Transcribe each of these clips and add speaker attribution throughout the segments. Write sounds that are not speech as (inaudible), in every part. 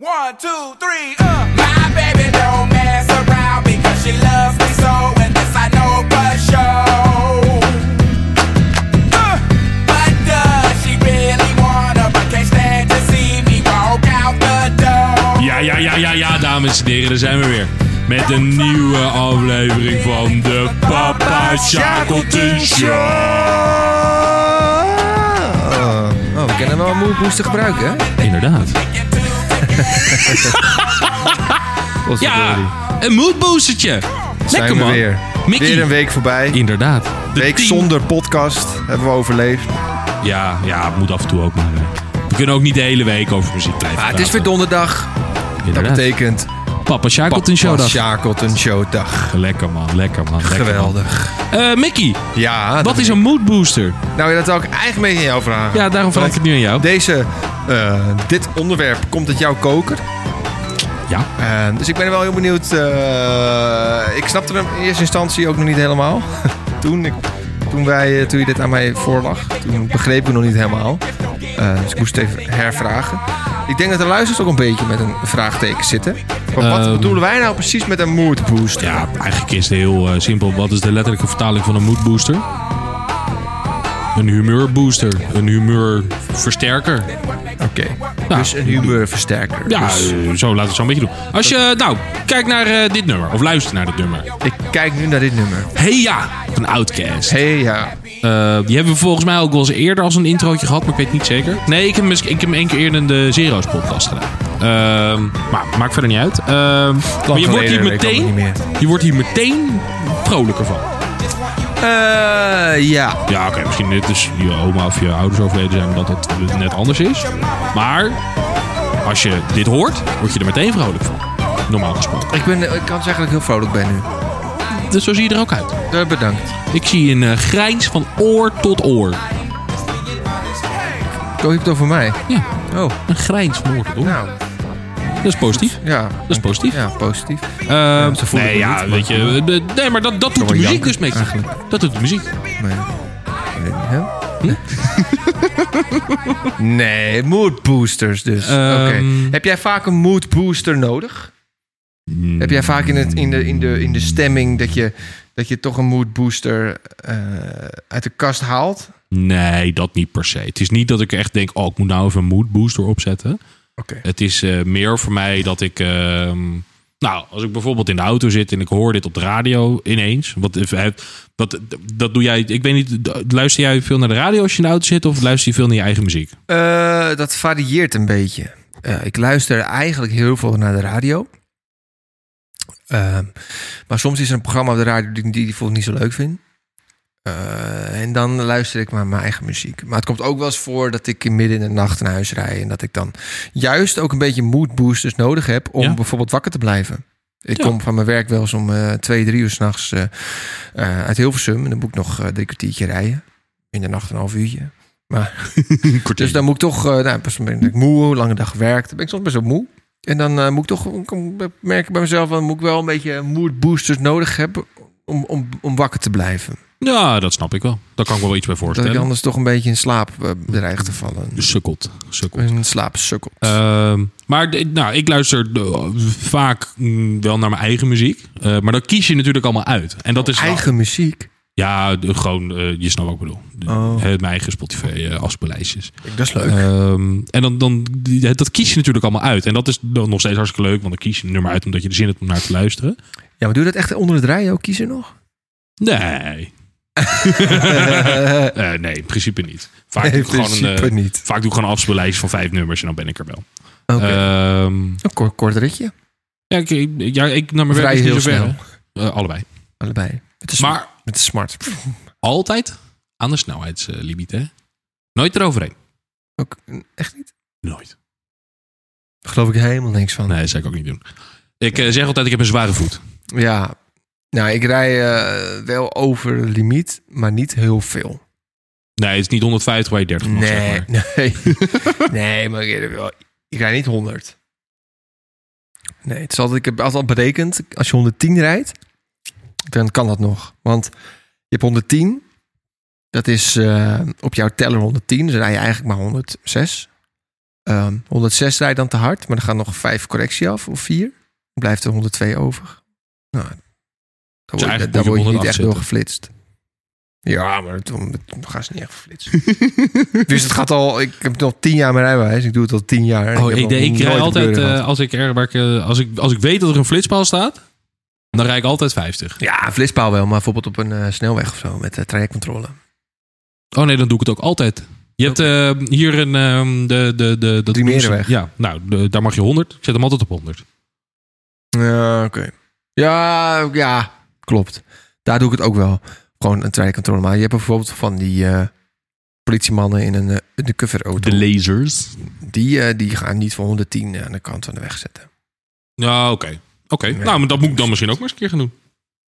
Speaker 1: One, two, three, uh. My baby don't mess around because she loves me so, and this I know for sure. Uh. But does she really wanna, but can't stand to see me walk out the door?
Speaker 2: Ja, ja, ja, ja, ja, dames en heren, daar zijn we weer. Met een nieuwe aflevering van de Papa Shackleton Show.
Speaker 3: Oh, we kennen wel moerpoes te gebruiken, hè?
Speaker 2: Inderdaad. Ja,
Speaker 3: Potverdorie.
Speaker 2: een moodboostertje.
Speaker 3: Zijn
Speaker 2: Lekker
Speaker 3: we
Speaker 2: man.
Speaker 3: weer.
Speaker 2: Mickey.
Speaker 3: Weer een week voorbij.
Speaker 2: Inderdaad. De
Speaker 3: week
Speaker 2: tien-
Speaker 3: zonder podcast hebben we overleefd.
Speaker 2: Ja, ja, moet af en toe ook maar. hè. We kunnen ook niet de hele week over muziek blijven.
Speaker 3: Maar Ah, het is weer
Speaker 2: praten.
Speaker 3: donderdag. Dat
Speaker 2: Inderdaad.
Speaker 3: betekent...
Speaker 2: Papa Shackleton Show dag.
Speaker 3: Schakelt een showdag.
Speaker 2: Lekker man, lekker man. lekker, man.
Speaker 3: Geweldig.
Speaker 2: Eh, Mickey,
Speaker 3: Ja. dat
Speaker 2: wat is
Speaker 3: weet
Speaker 2: een moodbooster?
Speaker 3: ik. Nou, dat zou ik eigenlijk een beetje aan jou vragen.
Speaker 2: Ja, daarom vraag ik het nu aan jou.
Speaker 3: Deze, eh, dit onderwerp komt uit jouw koker.
Speaker 2: Ja.
Speaker 3: Eh, dus ik ben wel heel benieuwd. eh, ik snapte hem in eerste instantie ook nog niet helemaal. (laughs) toen, ik, toen, wij, eh, toen je dit aan mij voorlag, toen begreep ik het nog niet helemaal. Eh, dus ik moest het even hervragen. Ik denk dat de luisteraars ook een beetje met een vraagteken zitten. Maar wat
Speaker 2: Ehm.
Speaker 3: bedoelen wij nou precies met een mood boost?
Speaker 2: Ja, eigenlijk is het heel eh, simpel. Wat is de letterlijke vertaling van een moodbooster? Een humeurbooster. Een humeurversterker.
Speaker 3: Oké.
Speaker 2: Nou,
Speaker 3: dus een humeurversterker.
Speaker 2: Ja,
Speaker 3: Dus
Speaker 2: eh, zo laten we het zo een beetje doen. Als je, nou, kijk naar eh, dit nummer. Of luister naar dit nummer.
Speaker 3: ik kijk nu naar dit nummer.
Speaker 2: Hey ja, van Outkast.
Speaker 3: Hé hey, ja.
Speaker 2: Eh, die hebben we volgens mij ook wel eens eerder als een introotje gehad, maar ik weet niet zeker. Nee, ik heb, mis- ik heb hem één keer eerder in de Zero's podcast gedaan. Ehm, maar maakt verder niet uit. Ehm, maar je
Speaker 3: geleden,
Speaker 2: wordt, hier
Speaker 3: weet ik allemaal
Speaker 2: meteen,
Speaker 3: niet meer.
Speaker 2: je wordt hier meteen vrolijker van.
Speaker 3: Eh, ja.
Speaker 2: Ja, oké, misschien dit is je oma of je ouders overleden zijn, dat dat net anders is. Maar als je dit hoort, word je er meteen vrolijk van. Normaal gesproken.
Speaker 3: Ik, ben, ik kan zeggen dat ik heel vrolijk ben nu.
Speaker 2: Dus zo zie je er ook uit.
Speaker 3: Eh, Bedankt.
Speaker 2: Ik zie een eh, grijns van oor tot oor.
Speaker 3: Oh, je hebt het over mij.
Speaker 2: Ja,
Speaker 3: Oh,
Speaker 2: een grijns van oor tot oor.
Speaker 3: nou.
Speaker 2: Dat is positief.
Speaker 3: Ja.
Speaker 2: Dat is positief.
Speaker 3: Ja, positief.
Speaker 2: Ehm,
Speaker 3: voelen
Speaker 2: nee,
Speaker 3: het
Speaker 2: ja,
Speaker 3: niet, maar-
Speaker 2: weet je. de- nee, maar dat, dat doet de
Speaker 3: wel
Speaker 2: muziek
Speaker 3: janken,
Speaker 2: dus mee.
Speaker 3: eigenlijk.
Speaker 2: Dat doet de muziek.
Speaker 3: Nee. Ik weet niet, hè?
Speaker 2: Hm?
Speaker 3: (laughs) nee, mood boosters dus.
Speaker 2: Ehm.
Speaker 3: Oké. Heb jij vaak een mood booster nodig?
Speaker 2: Hmm.
Speaker 3: Heb jij vaak in, het, in, de, in, de, in de stemming dat je, dat je toch een mood booster eh, uit de kast haalt?
Speaker 2: Nee, dat niet per se. Het is niet dat ik echt denk, oh, ik moet nou even een mood booster opzetten.
Speaker 3: Oké.
Speaker 2: Het is eh, meer voor mij dat ik. ehm, nou, als ik bijvoorbeeld in de auto zit en ik hoor dit op de radio ineens. Wat, eh, wat, dat doe jij. Ik weet niet. Luister jij veel naar de radio als je in de auto zit? Of luister je veel naar je eigen muziek?
Speaker 3: Eh, dat varieert een beetje. Eh, ik luister eigenlijk heel veel naar de radio. Ehm, maar soms is er een programma op de radio die, die ik bijvoorbeeld niet zo leuk vind. Eh, en dan luister ik maar mijn eigen muziek. Maar het komt ook wel eens voor dat ik midden in de nacht naar huis rijd. En dat ik dan juist ook een beetje mood boosters nodig heb om
Speaker 2: Ja.
Speaker 3: bijvoorbeeld wakker te blijven. Ik
Speaker 2: Ja.
Speaker 3: kom van mijn werk wel eens om eh, twee, drie uur s'nachts eh eh, uit Hilversum. En dan moet ik nog eh, drie kwartiertje rijden. In de nacht een half uurtje. Dus dan moet ik toch, eh nou, pas ben ik moe, lange dag gewerkt. Dan ben ik soms best wel moe. En dan eh, moet ik toch kom- merk ik bij mezelf, dan moet ik wel een beetje mood boosters nodig hebben om, om, om wakker te blijven.
Speaker 2: Ja, dat snap ik wel. Daar kan ik wel iets bij
Speaker 3: Dat ik
Speaker 2: voorstellen. Dus-
Speaker 3: anders toch een beetje in slaap eh, dreig te vallen.
Speaker 2: Sukkelt. Sukkelt.
Speaker 3: In slaap sukkelt.
Speaker 2: Ehm, maar d- nou, ik luister eh, vaak mm, wel naar mijn eigen muziek. Eh, maar dat kies je natuurlijk allemaal uit. En dat is wel-
Speaker 3: Oh, Eigen muziek.
Speaker 2: ja, de- gewoon, eh, je snapt wat ik bedoel. De-
Speaker 3: Oh.
Speaker 2: het- mijn eigen Spotify eh afspeellijstjes.
Speaker 3: Dat is leuk.
Speaker 2: Ehm, en dan, dan, die- dat kies je natuurlijk allemaal uit. En dat is dan nog steeds hartstikke leuk. Want dan kies je een nummer uit omdat je er zin hebt om naar te luisteren.
Speaker 3: ja, maar doe je dat echt onder het rijden ook kiezen nog? (laughs)
Speaker 2: Nee. Eh, nee, in principe niet. Vaak,
Speaker 3: Nee,
Speaker 2: doe
Speaker 3: in
Speaker 2: ik gewoon een,
Speaker 3: principe
Speaker 2: eh,
Speaker 3: niet.
Speaker 2: vaak doe ik gewoon een afspeellijst van vijf nummers. En dan ben ik er wel.
Speaker 3: Oké.
Speaker 2: Ehm,
Speaker 3: een kort, kort ritje.
Speaker 2: ja, ik, ik- ja, ik naar mijn
Speaker 3: Vrij
Speaker 2: werk is niet
Speaker 3: heel
Speaker 2: zo ver,
Speaker 3: snel.
Speaker 2: hè. Eh, allebei.
Speaker 3: Allebei. Met de, sm-
Speaker 2: Maar
Speaker 3: met de smart.
Speaker 2: altijd aan de snelheidslimiet, hè? Nooit eroverheen.
Speaker 3: Ook, echt niet?
Speaker 2: Nooit.
Speaker 3: Daar geloof ik helemaal niks van.
Speaker 2: Nee, dat zou ik ook niet doen. Ik eh, zeg altijd, ik heb een zware voet.
Speaker 3: Ja, nou, ik rij eh, wel over de limiet, maar niet heel veel.
Speaker 2: Nee, het is niet 150 waar je 30 mag, zeg maar.
Speaker 3: nee.
Speaker 2: (laughs)
Speaker 3: nee, maar ik, rij wel- ik rij niet 100. Nee, het is altijd, ik heb altijd al berekend, als je 110 rijdt, dan kan dat nog. Want je hebt 110, dat is eh, op jouw teller 110, dus dan rij je eigenlijk maar 106. Ehm, 106 rijdt dan te hard, maar dan gaan nog vijf correctie af of vier. Dan blijft er 102 over. Nou, daar word, je-
Speaker 2: Dus eigenlijk
Speaker 3: daar
Speaker 2: moet
Speaker 3: word
Speaker 2: je
Speaker 3: je
Speaker 2: op
Speaker 3: niet
Speaker 2: 108
Speaker 3: echt door
Speaker 2: zitten.
Speaker 3: geflitst. Ja, maar toen, toen gaan ze niet echt flitsen. dus het gaat al... Ik heb nog tien jaar mijn rijbewijs. Ik doe het al tien jaar. en
Speaker 2: Oh,
Speaker 3: heb
Speaker 2: ik,
Speaker 3: nog
Speaker 2: ik,
Speaker 3: nooit
Speaker 2: rij
Speaker 3: een
Speaker 2: altijd,
Speaker 3: kleur
Speaker 2: eh,
Speaker 3: gehad.
Speaker 2: als, ik er, waar ik, eh, als, ik, als ik weet dat er een flitspaal staat, dan rijd ik altijd 50.
Speaker 3: Ja, een flitspaal wel, maar bijvoorbeeld op een eh, snelweg of zo met eh, trajectcontrole.
Speaker 2: Oh nee, dan doe ik het ook altijd. Je hebt eh, hier een... ehm, de, de, de, de,
Speaker 3: Die merenweg.
Speaker 2: Ja, nou, de- daar mag je 100. Ik zet hem altijd op 100.
Speaker 3: Ja, oké. Ja, ja, klopt. Daar doe ik het ook wel. Gewoon een trajectcontrole. Maar je hebt bijvoorbeeld van die eh, politiemannen in een, eh, in de coverauto.
Speaker 2: lasers.
Speaker 3: die, eh, die gaan niet voor 110 aan de kant van de weg zetten.
Speaker 2: Ja, oké. Oké,
Speaker 3: Ja.
Speaker 2: nou, maar dat moet ik dan misschien ook maar eens een keer gaan doen.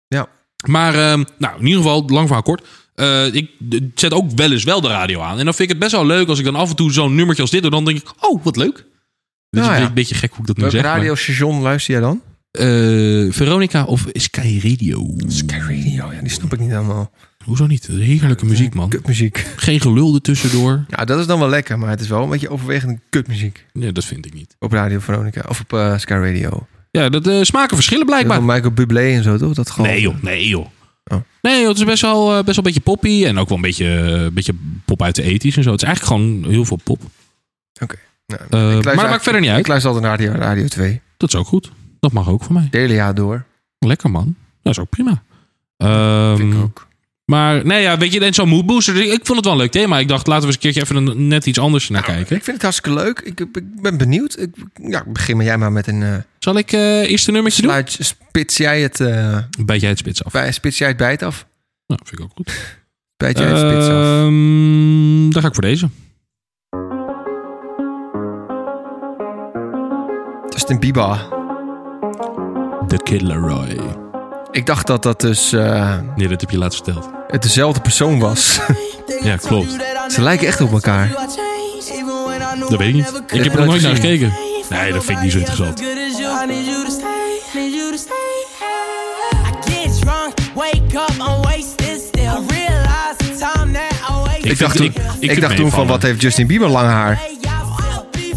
Speaker 3: Ja.
Speaker 2: Maar, ehm, nou, in ieder geval, lang verhaal kort. Eh, ik d- zet ook wel eens wel de radio aan. En dan vind ik het best wel leuk als ik dan af en toe zo'n nummertje als dit doe. Dan denk ik, oh, wat leuk. Dit is
Speaker 3: Nou
Speaker 2: een
Speaker 3: ja.
Speaker 2: be- beetje gek hoe ik dat nu
Speaker 3: Welk
Speaker 2: zeg. maar-
Speaker 3: radiostation luister jij dan?
Speaker 2: Eh, Veronica of Sky Radio?
Speaker 3: Sky Radio, ja, die snap ik niet helemaal.
Speaker 2: Hoezo niet? Dat is Heerlijke muziek, man.
Speaker 3: Kutmuziek.
Speaker 2: Geen gelul ertussendoor.
Speaker 3: Ja, dat is dan wel lekker, maar het is wel een beetje overwegend kutmuziek.
Speaker 2: Nee, dat vind ik niet.
Speaker 3: Op Radio Veronica, of op eh, Sky Radio.
Speaker 2: Ja, dat eh, smaken verschillen
Speaker 3: Heel
Speaker 2: blijkbaar.
Speaker 3: veel Michael Bublé en zo, toch? Dat gewoon...
Speaker 2: Nee joh, nee joh.
Speaker 3: Oh.
Speaker 2: Nee joh, het is best wel, eh, best wel een beetje poppy. En ook wel een beetje, eh, beetje pop uit de ethisch en zo. Het is eigenlijk gewoon heel veel pop.
Speaker 3: Nou, ik
Speaker 2: Eh,
Speaker 3: luister
Speaker 2: maar dat maakt
Speaker 3: eigenlijk-
Speaker 2: verder niet
Speaker 3: Ik
Speaker 2: uit.
Speaker 3: luister altijd naar Radio, radio 2.
Speaker 2: Dat is ook goed. Dat mag ook voor mij.
Speaker 3: Het hele jaar door.
Speaker 2: Lekker man. Dat is ook prima. Ehm,
Speaker 3: Vind ik ook.
Speaker 2: maar nee, ja, weet je, en zo'n mood booster. Ik vond het wel een leuk thema. Ik dacht, laten we eens een keertje even een, net iets anders naar kijken.
Speaker 3: Ik vind het hartstikke leuk. Ik, ik ben benieuwd. Ik, ja, begin maar jij maar met een... eh,
Speaker 2: Zal ik eh, eerst een nummertje doen?
Speaker 3: sluit, spits jij het, eh,
Speaker 2: Bijt jij het spits af?
Speaker 3: bij, spits jij het bijt af?
Speaker 2: Nou, vind ik ook goed.
Speaker 3: Bijt jij het
Speaker 2: Eh,
Speaker 3: spits af?
Speaker 2: Ehm, dan ga ik voor deze.
Speaker 3: Justin Bieber.
Speaker 2: The Kid Leroy.
Speaker 3: Ik dacht dat dat dus eh,
Speaker 2: Nee, dat heb je laatst verteld.
Speaker 3: het dezelfde persoon was. (laughs)
Speaker 2: Ja, klopt.
Speaker 3: Ze lijken echt op elkaar.
Speaker 2: Dat weet ik niet. Ik heb er nog nooit naar gekeken. Nee, dat vind ik niet zo interessant.
Speaker 3: Ik dacht toen,
Speaker 2: ik- ik
Speaker 3: ik
Speaker 2: vind
Speaker 3: dacht toen van,
Speaker 2: meevallen.
Speaker 3: wat heeft Justin Bieber lang haar?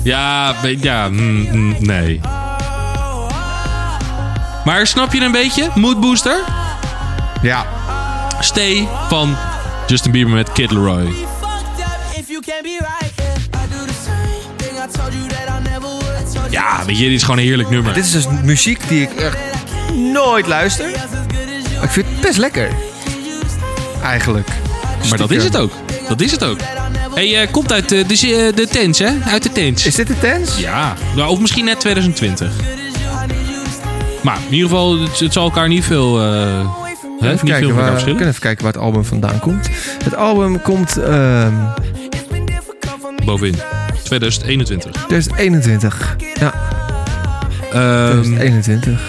Speaker 2: Ja, we- ja, mm, mm, nee. Maar snap je een beetje? Mood Booster?
Speaker 3: Ja.
Speaker 2: Stay van Justin Bieber met Kid Leroy. Ja, weet je, dit is gewoon een heerlijk nummer.
Speaker 3: Dit is dus muziek die ik echt nooit luister. Maar ik vind het best lekker. Eigenlijk.
Speaker 2: maar dat is het ook. Dat is het ook. hey, eh, komt uit eh, de, zi- eh, de tents, hè? Uit de tents.
Speaker 3: Is dit de tens?
Speaker 2: Ja, nou, of misschien net 2020. Maar in ieder geval, het, het zal elkaar niet veel... eh hè, niet
Speaker 3: Even
Speaker 2: veel
Speaker 3: kijken,
Speaker 2: van elkaar
Speaker 3: waar, we
Speaker 2: verschillen.
Speaker 3: kunnen even kijken waar het album vandaan komt. Het album komt ehm
Speaker 2: Bovenin. 2021.
Speaker 3: 2021. Ja,
Speaker 2: Ehm
Speaker 3: 2021.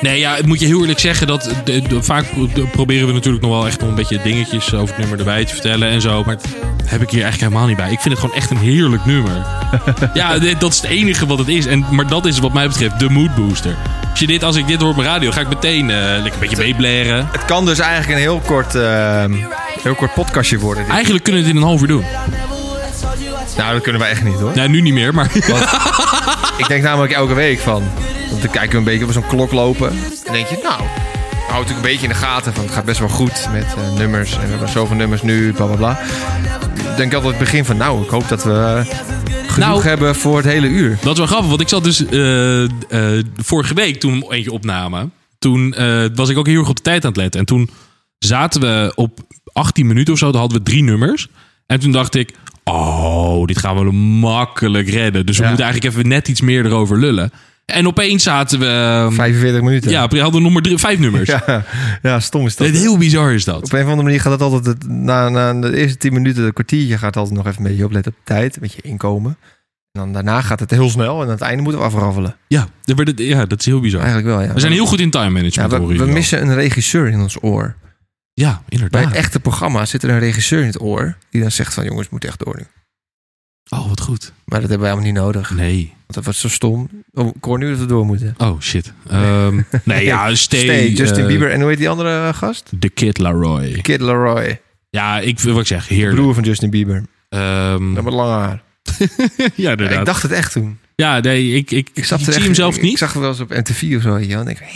Speaker 2: Nee, ja, ik moet je heel eerlijk zeggen dat de- de- vaak pro- de- proberen we natuurlijk nog wel echt nog een beetje dingetjes over het nummer erbij te vertellen en zo. Maar dat heb ik hier eigenlijk helemaal niet bij. Ik vind het gewoon echt een heerlijk
Speaker 3: (laughs)
Speaker 2: nummer. ja, dit- dat is het enige wat het is. En, maar dat is wat mij betreft de mood booster. Als, je dit, als ik dit hoor op mijn radio, ga ik meteen eh, lekker een beetje meeblaren.
Speaker 3: Het kan dus eigenlijk een heel kort, ehm, heel kort podcastje worden. dit.
Speaker 2: Eigenlijk kunnen we dit in een half uur doen.
Speaker 3: Nou, dat kunnen wij echt niet hoor.
Speaker 2: Nou, nu niet meer, maar
Speaker 3: Ik denk namelijk elke week van. Want dan kijken we een beetje op zo'n klok lopen. En dan denk je, nou, houd ik een beetje in de gaten van het gaat best wel goed met eh, nummers. En we hebben zoveel nummers nu, bla bla bla. Ik denk altijd het begin van, nou, ik hoop dat we eh, genoeg
Speaker 2: Nou.
Speaker 3: hebben voor het hele
Speaker 2: (laughs)
Speaker 3: uur.
Speaker 2: dat is wel grappig. Want ik zat dus eh, eh, vorige week toen we eentje opnamen. Toen eh, was ik ook heel erg op de tijd aan het letten. En toen zaten we op 18 minuten of zo. Toen hadden we drie nummers. En toen dacht ik, oh, dit gaan we makkelijk redden. Dus we
Speaker 3: Ja.
Speaker 2: moeten eigenlijk even net iets meer erover lullen. En opeens zaten we... ehm,
Speaker 3: 45 minuten.
Speaker 2: ja, we hadden nummer drie, vijf nummers.
Speaker 3: (laughs) ja, ja, stom is dat.
Speaker 2: Het- Heel bizar is dat.
Speaker 3: Op een of andere manier gaat dat altijd, het- na, na de eerste 10 minuten, een kwartiertje, gaat altijd nog even een beetje opletten op de tijd, een beetje inkomen. En dan daarna gaat het heel snel en aan het einde moeten we afraffelen.
Speaker 2: Ja, dat werd het- ja, dat is heel bizar.
Speaker 3: Eigenlijk wel, ja.
Speaker 2: We zijn heel goed in time
Speaker 3: ja,
Speaker 2: management.
Speaker 3: we,
Speaker 2: hoor je
Speaker 3: we
Speaker 2: wel.
Speaker 3: missen een regisseur in ons oor.
Speaker 2: Ja,
Speaker 3: Bij
Speaker 2: inderdaad.
Speaker 3: echte programma's zit er een regisseur in het oor die dan zegt van jongens, het moet echt door nu.
Speaker 2: Oh, wat goed.
Speaker 3: Maar dat hebben we helemaal niet nodig.
Speaker 2: Nee.
Speaker 3: Want dat was zo stom. Oh, ik hoor nu dat we door moeten.
Speaker 2: Oh shit.
Speaker 3: (laughs)
Speaker 2: Ehm, nee, ja, Stay.
Speaker 3: Stay, Justin
Speaker 2: eh,
Speaker 3: Bieber en hoe heet die andere eh, gast?
Speaker 2: The Kid Laroi.
Speaker 3: Kid Leroy.
Speaker 2: Ja, ik wil wat ik zeg, heerlijk.
Speaker 3: Broer van Justin Bieber.
Speaker 2: Ehm,
Speaker 3: Dat met lang haar.
Speaker 2: ja,
Speaker 3: Ja,
Speaker 2: inderdaad.
Speaker 3: ik dacht het echt toen.
Speaker 2: ja, nee, ik, ik, ik,
Speaker 3: Ik, snapte
Speaker 2: zie
Speaker 3: echt-
Speaker 2: hem zelf
Speaker 3: ik-
Speaker 2: niet.
Speaker 3: Ik zag hem wel eens op MTV of zo, weet je wel. En ik denk,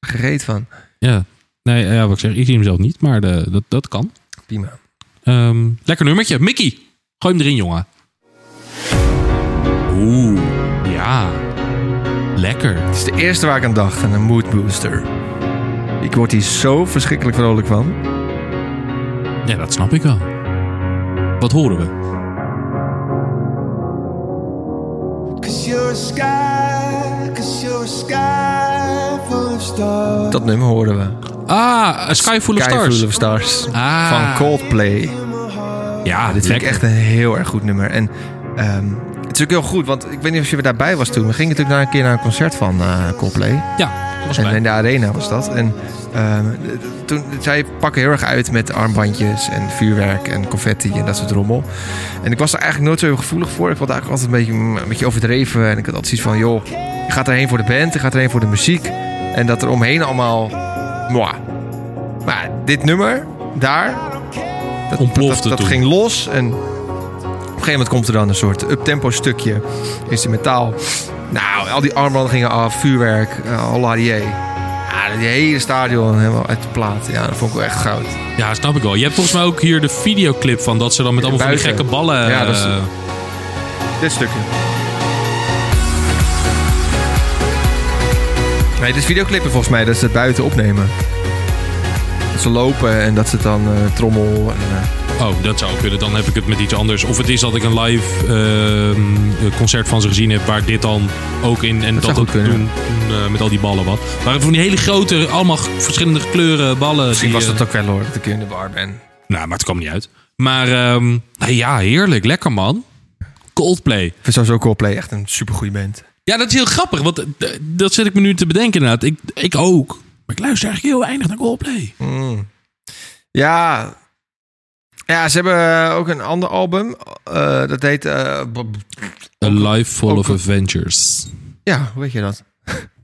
Speaker 3: gereed van.
Speaker 2: Ja. Nee, ja, wat ik zeg, ik zie hem zelf niet, maar de, dat, dat kan.
Speaker 3: Prima.
Speaker 2: Ehm, lekker nummertje. Mickey, gooi hem erin, jongen. Oeh, ja. Lekker.
Speaker 3: Het is de eerste waar ik aan dacht, aan een mood booster. Ik word hier zo verschrikkelijk vrolijk van.
Speaker 2: Ja, dat snap ik wel. Wat horen we?
Speaker 4: Cause you're a sky, cause you're a sky full of stars.
Speaker 3: Dat nummer hoorden we.
Speaker 2: Ah, A Sky Full of
Speaker 3: Sky
Speaker 2: Stars.
Speaker 3: Full of Stars.
Speaker 2: Ah.
Speaker 3: Van Coldplay.
Speaker 2: Ja,
Speaker 3: Dit
Speaker 2: dit
Speaker 3: vind
Speaker 2: lekker.
Speaker 3: ik echt een heel erg goed nummer. En ehm, het is ook heel goed, want ik weet niet of je daarbij was toen. We gingen natuurlijk na een keer naar een concert van eh Coldplay.
Speaker 2: Ja, dat was
Speaker 3: En
Speaker 2: bij.
Speaker 3: in de arena was dat. En ehm, d- toen, zij pakken heel erg uit met armbandjes en vuurwerk en confetti en dat soort rommel. En ik was er eigenlijk nooit zo heel gevoelig voor. Ik vond het eigenlijk altijd een beetje, een beetje overdreven. En ik had altijd zoiets van, joh, je gaat erheen voor de band, je gaat erheen voor de muziek. En dat er omheen allemaal, moi. Maar dit nummer, daar, dat,
Speaker 2: Ontplofte
Speaker 3: dat, dat
Speaker 2: toen.
Speaker 3: ging los. En op een gegeven moment komt er dan een soort uptempo stukje instrumentaal. Nou, al die armbanden gingen af, vuurwerk, uh, Holladier. Ja, die hele stadion helemaal uit de plaat. Ja, dat vond ik wel echt goud.
Speaker 2: Ja, snap ik wel. Je hebt volgens mij ook hier de videoclip van dat ze dan met allemaal van die
Speaker 3: Buiten.
Speaker 2: gekke ballen...
Speaker 3: Ja, dat is-
Speaker 2: eh,
Speaker 3: Dit stukje. Nee, dit is videoclippen volgens mij, dat ze het buiten opnemen. Dat ze lopen en dat ze dan eh, trommel en... eh,
Speaker 2: Oh, dat zou kunnen. Dan heb ik het met iets anders. Of het is dat ik een live ehm, concert van ze gezien heb waar dit dan ook in. En dat
Speaker 3: zou
Speaker 2: dat
Speaker 3: goed kunnen,
Speaker 2: toen, toen, eh, met al die ballen wat. Maar het van die hele grote, allemaal g- verschillende kleuren ballen.
Speaker 3: misschien
Speaker 2: die,
Speaker 3: was dat
Speaker 2: eh,
Speaker 3: ook wel hoor, dat ik in de bar ben.
Speaker 2: Nou, maar het kwam niet uit. Maar ehm, nou ja, heerlijk. Lekker man. Coldplay.
Speaker 3: Ik vind sowieso Coldplay echt een supergoeie band.
Speaker 2: Ja, dat is heel grappig. Want eh, d- dat zit ik me nu te bedenken inderdaad. Ik, ik ook. Maar ik luister eigenlijk heel weinig naar Coldplay.
Speaker 3: Mm. Ja. Ja, ze hebben eh, ook een ander album. eh, dat heet... eh, b- b-
Speaker 2: A Life Full
Speaker 3: ook-
Speaker 2: of Adventures.
Speaker 3: ja, hoe weet je dat?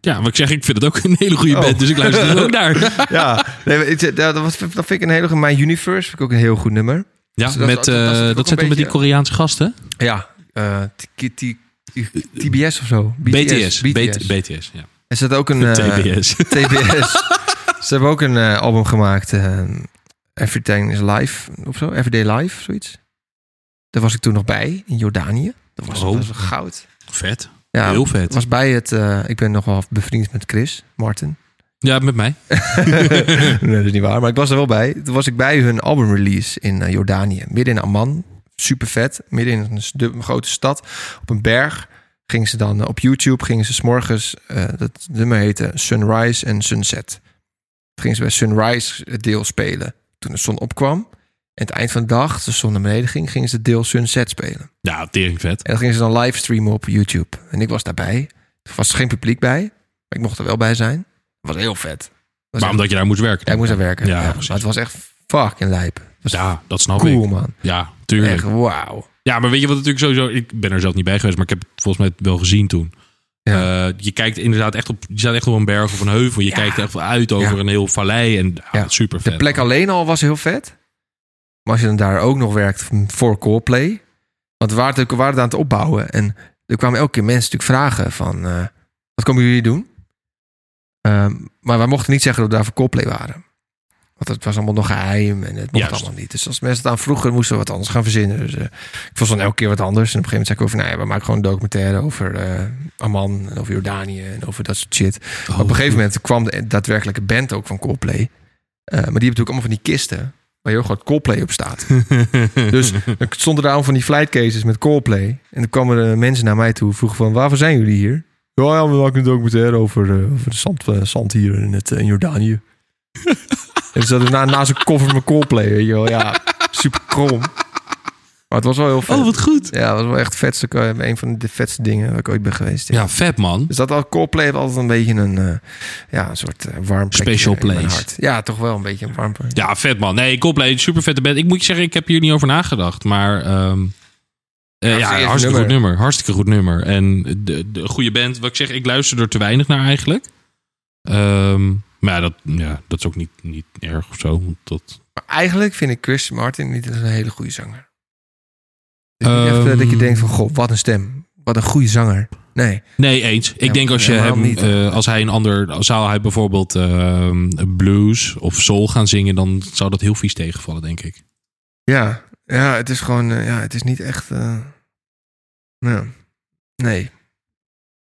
Speaker 2: Ja, maar ik zeg, ik vind het ook een hele goede
Speaker 3: Oh.
Speaker 2: band. Dus ik (laughs) luister er ook naar.
Speaker 3: ja, nee, maar het- dat, dat was- dat vind ik een hele... My Universe vind ik ook een heel goed nummer.
Speaker 2: Ja,
Speaker 3: Dus dat-
Speaker 2: met,
Speaker 3: dat- dat
Speaker 2: eh,
Speaker 3: zit ook
Speaker 2: dat, zijn
Speaker 3: een
Speaker 2: toch met die
Speaker 3: beetje-
Speaker 2: Koreaanse gasten?
Speaker 3: Ja. eh, t- t- t- t- TBS of zo.
Speaker 2: BTS. BTS,
Speaker 3: BTS.
Speaker 2: BTS ja.
Speaker 3: Er zit ook een... eh,
Speaker 2: TBS.
Speaker 3: TBS. (laughs) Ze hebben ook een eh, album gemaakt. eh, Everything is Live of zo. Everyday Live, zoiets. Daar was ik toen nog bij, in Jordanië. Dat was,
Speaker 2: Oh.
Speaker 3: dat was goud.
Speaker 2: Vet.
Speaker 3: Ja,
Speaker 2: Heel vet.
Speaker 3: was bij het... eh, ik ben nogal bevriend met Chris, Martin.
Speaker 2: Ja, met mij.
Speaker 3: nee, dat is niet waar. Maar ik was er wel bij. Toen was ik bij hun albumrelease in eh, Jordanië. Midden in Amman. Super vet. Midden in een, stu- een grote stad. Op een berg. Gingen ze dan eh, op YouTube. Gingen ze s'morgens. eh dat nummer heette Sunrise en Sunset. Toen Gingen ze bij Sunrise het deel spelen. Toen de zon opkwam. En het eind van de dag, als de zon naar beneden ging, gingen ze het deel Sunset spelen.
Speaker 2: Ja, tering vet.
Speaker 3: En dat gingen ze dan livestreamen op YouTube. En ik was daarbij. Er was geen publiek bij. Maar ik mocht er wel bij zijn. Het was heel vet. Het was
Speaker 2: Maar
Speaker 3: echt
Speaker 2: omdat je daar moest werken.
Speaker 3: ja, ik moest daar werken.
Speaker 2: Ja,
Speaker 3: Ja, maar
Speaker 2: precies.
Speaker 3: het was echt fucking lijp. Het was
Speaker 2: Ja, dat snap
Speaker 3: cool,
Speaker 2: ik.
Speaker 3: man.
Speaker 2: Ja, tuurlijk.
Speaker 3: Echt wauw.
Speaker 2: Ja, maar weet je wat natuurlijk sowieso... Ik ben er zelf niet bij geweest, maar ik heb het volgens mij wel gezien toen.
Speaker 3: Ja.
Speaker 2: Eh, je kijkt inderdaad echt op... Je staat echt op een berg of een heuvel. Je kijkt echt uit over
Speaker 3: Ja.
Speaker 2: een heel vallei. En ah,
Speaker 3: Ja.
Speaker 2: super vet.
Speaker 3: De plek alleen al was heel vet. Maar als je dan daar ook nog werkt voor Coldplay. Want we waren, het- we waren het aan het opbouwen. En er kwamen elke keer mensen natuurlijk vragen van... eh, wat komen jullie doen? Ehm, maar wij mochten niet zeggen dat we daar voor Coldplay waren. Want het was allemaal nog geheim en het mocht
Speaker 2: Juist.
Speaker 3: allemaal niet. Dus als mensen het aan vroegen, moesten we wat anders gaan verzinnen. Dus, eh, ik was dan elke keer wat anders. En op een gegeven moment zei ik over... Nou ja, we maken gewoon een documentaire over eh Amman en over Jordanië en over dat soort shit.
Speaker 2: Oh,
Speaker 3: Maar op een gegeven moment kwam de daadwerkelijke band ook van Coldplay. Eh, maar die hebben natuurlijk allemaal van die kisten waar heel groot Coldplay op (laughs) staat. dus er stonden daar allemaal van die flightcases met Coldplay. En toen kwamen er mensen naar mij toe en vroegen van... waarvoor zijn jullie hier? Ja, ja we maken een documentaire over, eh, over de zand, eh, zand hier in, het, eh, in (laughs) Jordanië. en ze zaten na, naast een koffer met Coldplay, weet je wel. Ja, super krom. Maar het was wel heel vet.
Speaker 2: Oh, wat goed.
Speaker 3: Ja, het was wel echt het vetste, eh, een van de vetste dingen waar ik ooit ben geweest.
Speaker 2: Ja, vet man.
Speaker 3: Dus dat al Coldplay heeft altijd een beetje een, eh, ja, een soort eh, warm plekje
Speaker 2: Special
Speaker 3: in mijn
Speaker 2: place.
Speaker 3: hart. Ja, toch wel een beetje een warm plekje.
Speaker 2: Ja, vet man. Nee, Coldplay, super vette band. Ik moet je zeggen, ik heb hier niet over nagedacht. Maar ehm, eh,
Speaker 3: het is
Speaker 2: ja,
Speaker 3: een
Speaker 2: hartstikke
Speaker 3: nummer.
Speaker 2: goed nummer. Hartstikke goed nummer. En de, de goede band, wat ik zeg, ik luister er te weinig naar eigenlijk. Ehm, maar ja, dat, ja, dat is ook niet, niet erg of zo. want Dat,
Speaker 3: Maar eigenlijk vind ik Chris Martin niet een hele goede zanger. Het is niet echt eh,
Speaker 2: Ehm,
Speaker 3: dat je denkt van, god, wat een stem. Wat een goede zanger. Nee.
Speaker 2: Nee, eens. Ik
Speaker 3: Ja,
Speaker 2: denk als je
Speaker 3: helemaal
Speaker 2: hem,
Speaker 3: niet, hè?
Speaker 2: eh, als hij een ander, zou hij bijvoorbeeld ehm, blues of soul gaan zingen, dan zou dat heel vies tegenvallen, denk ik.
Speaker 3: Ja, ja het is gewoon... eh, ja, het is niet echt... eh, nou, nee.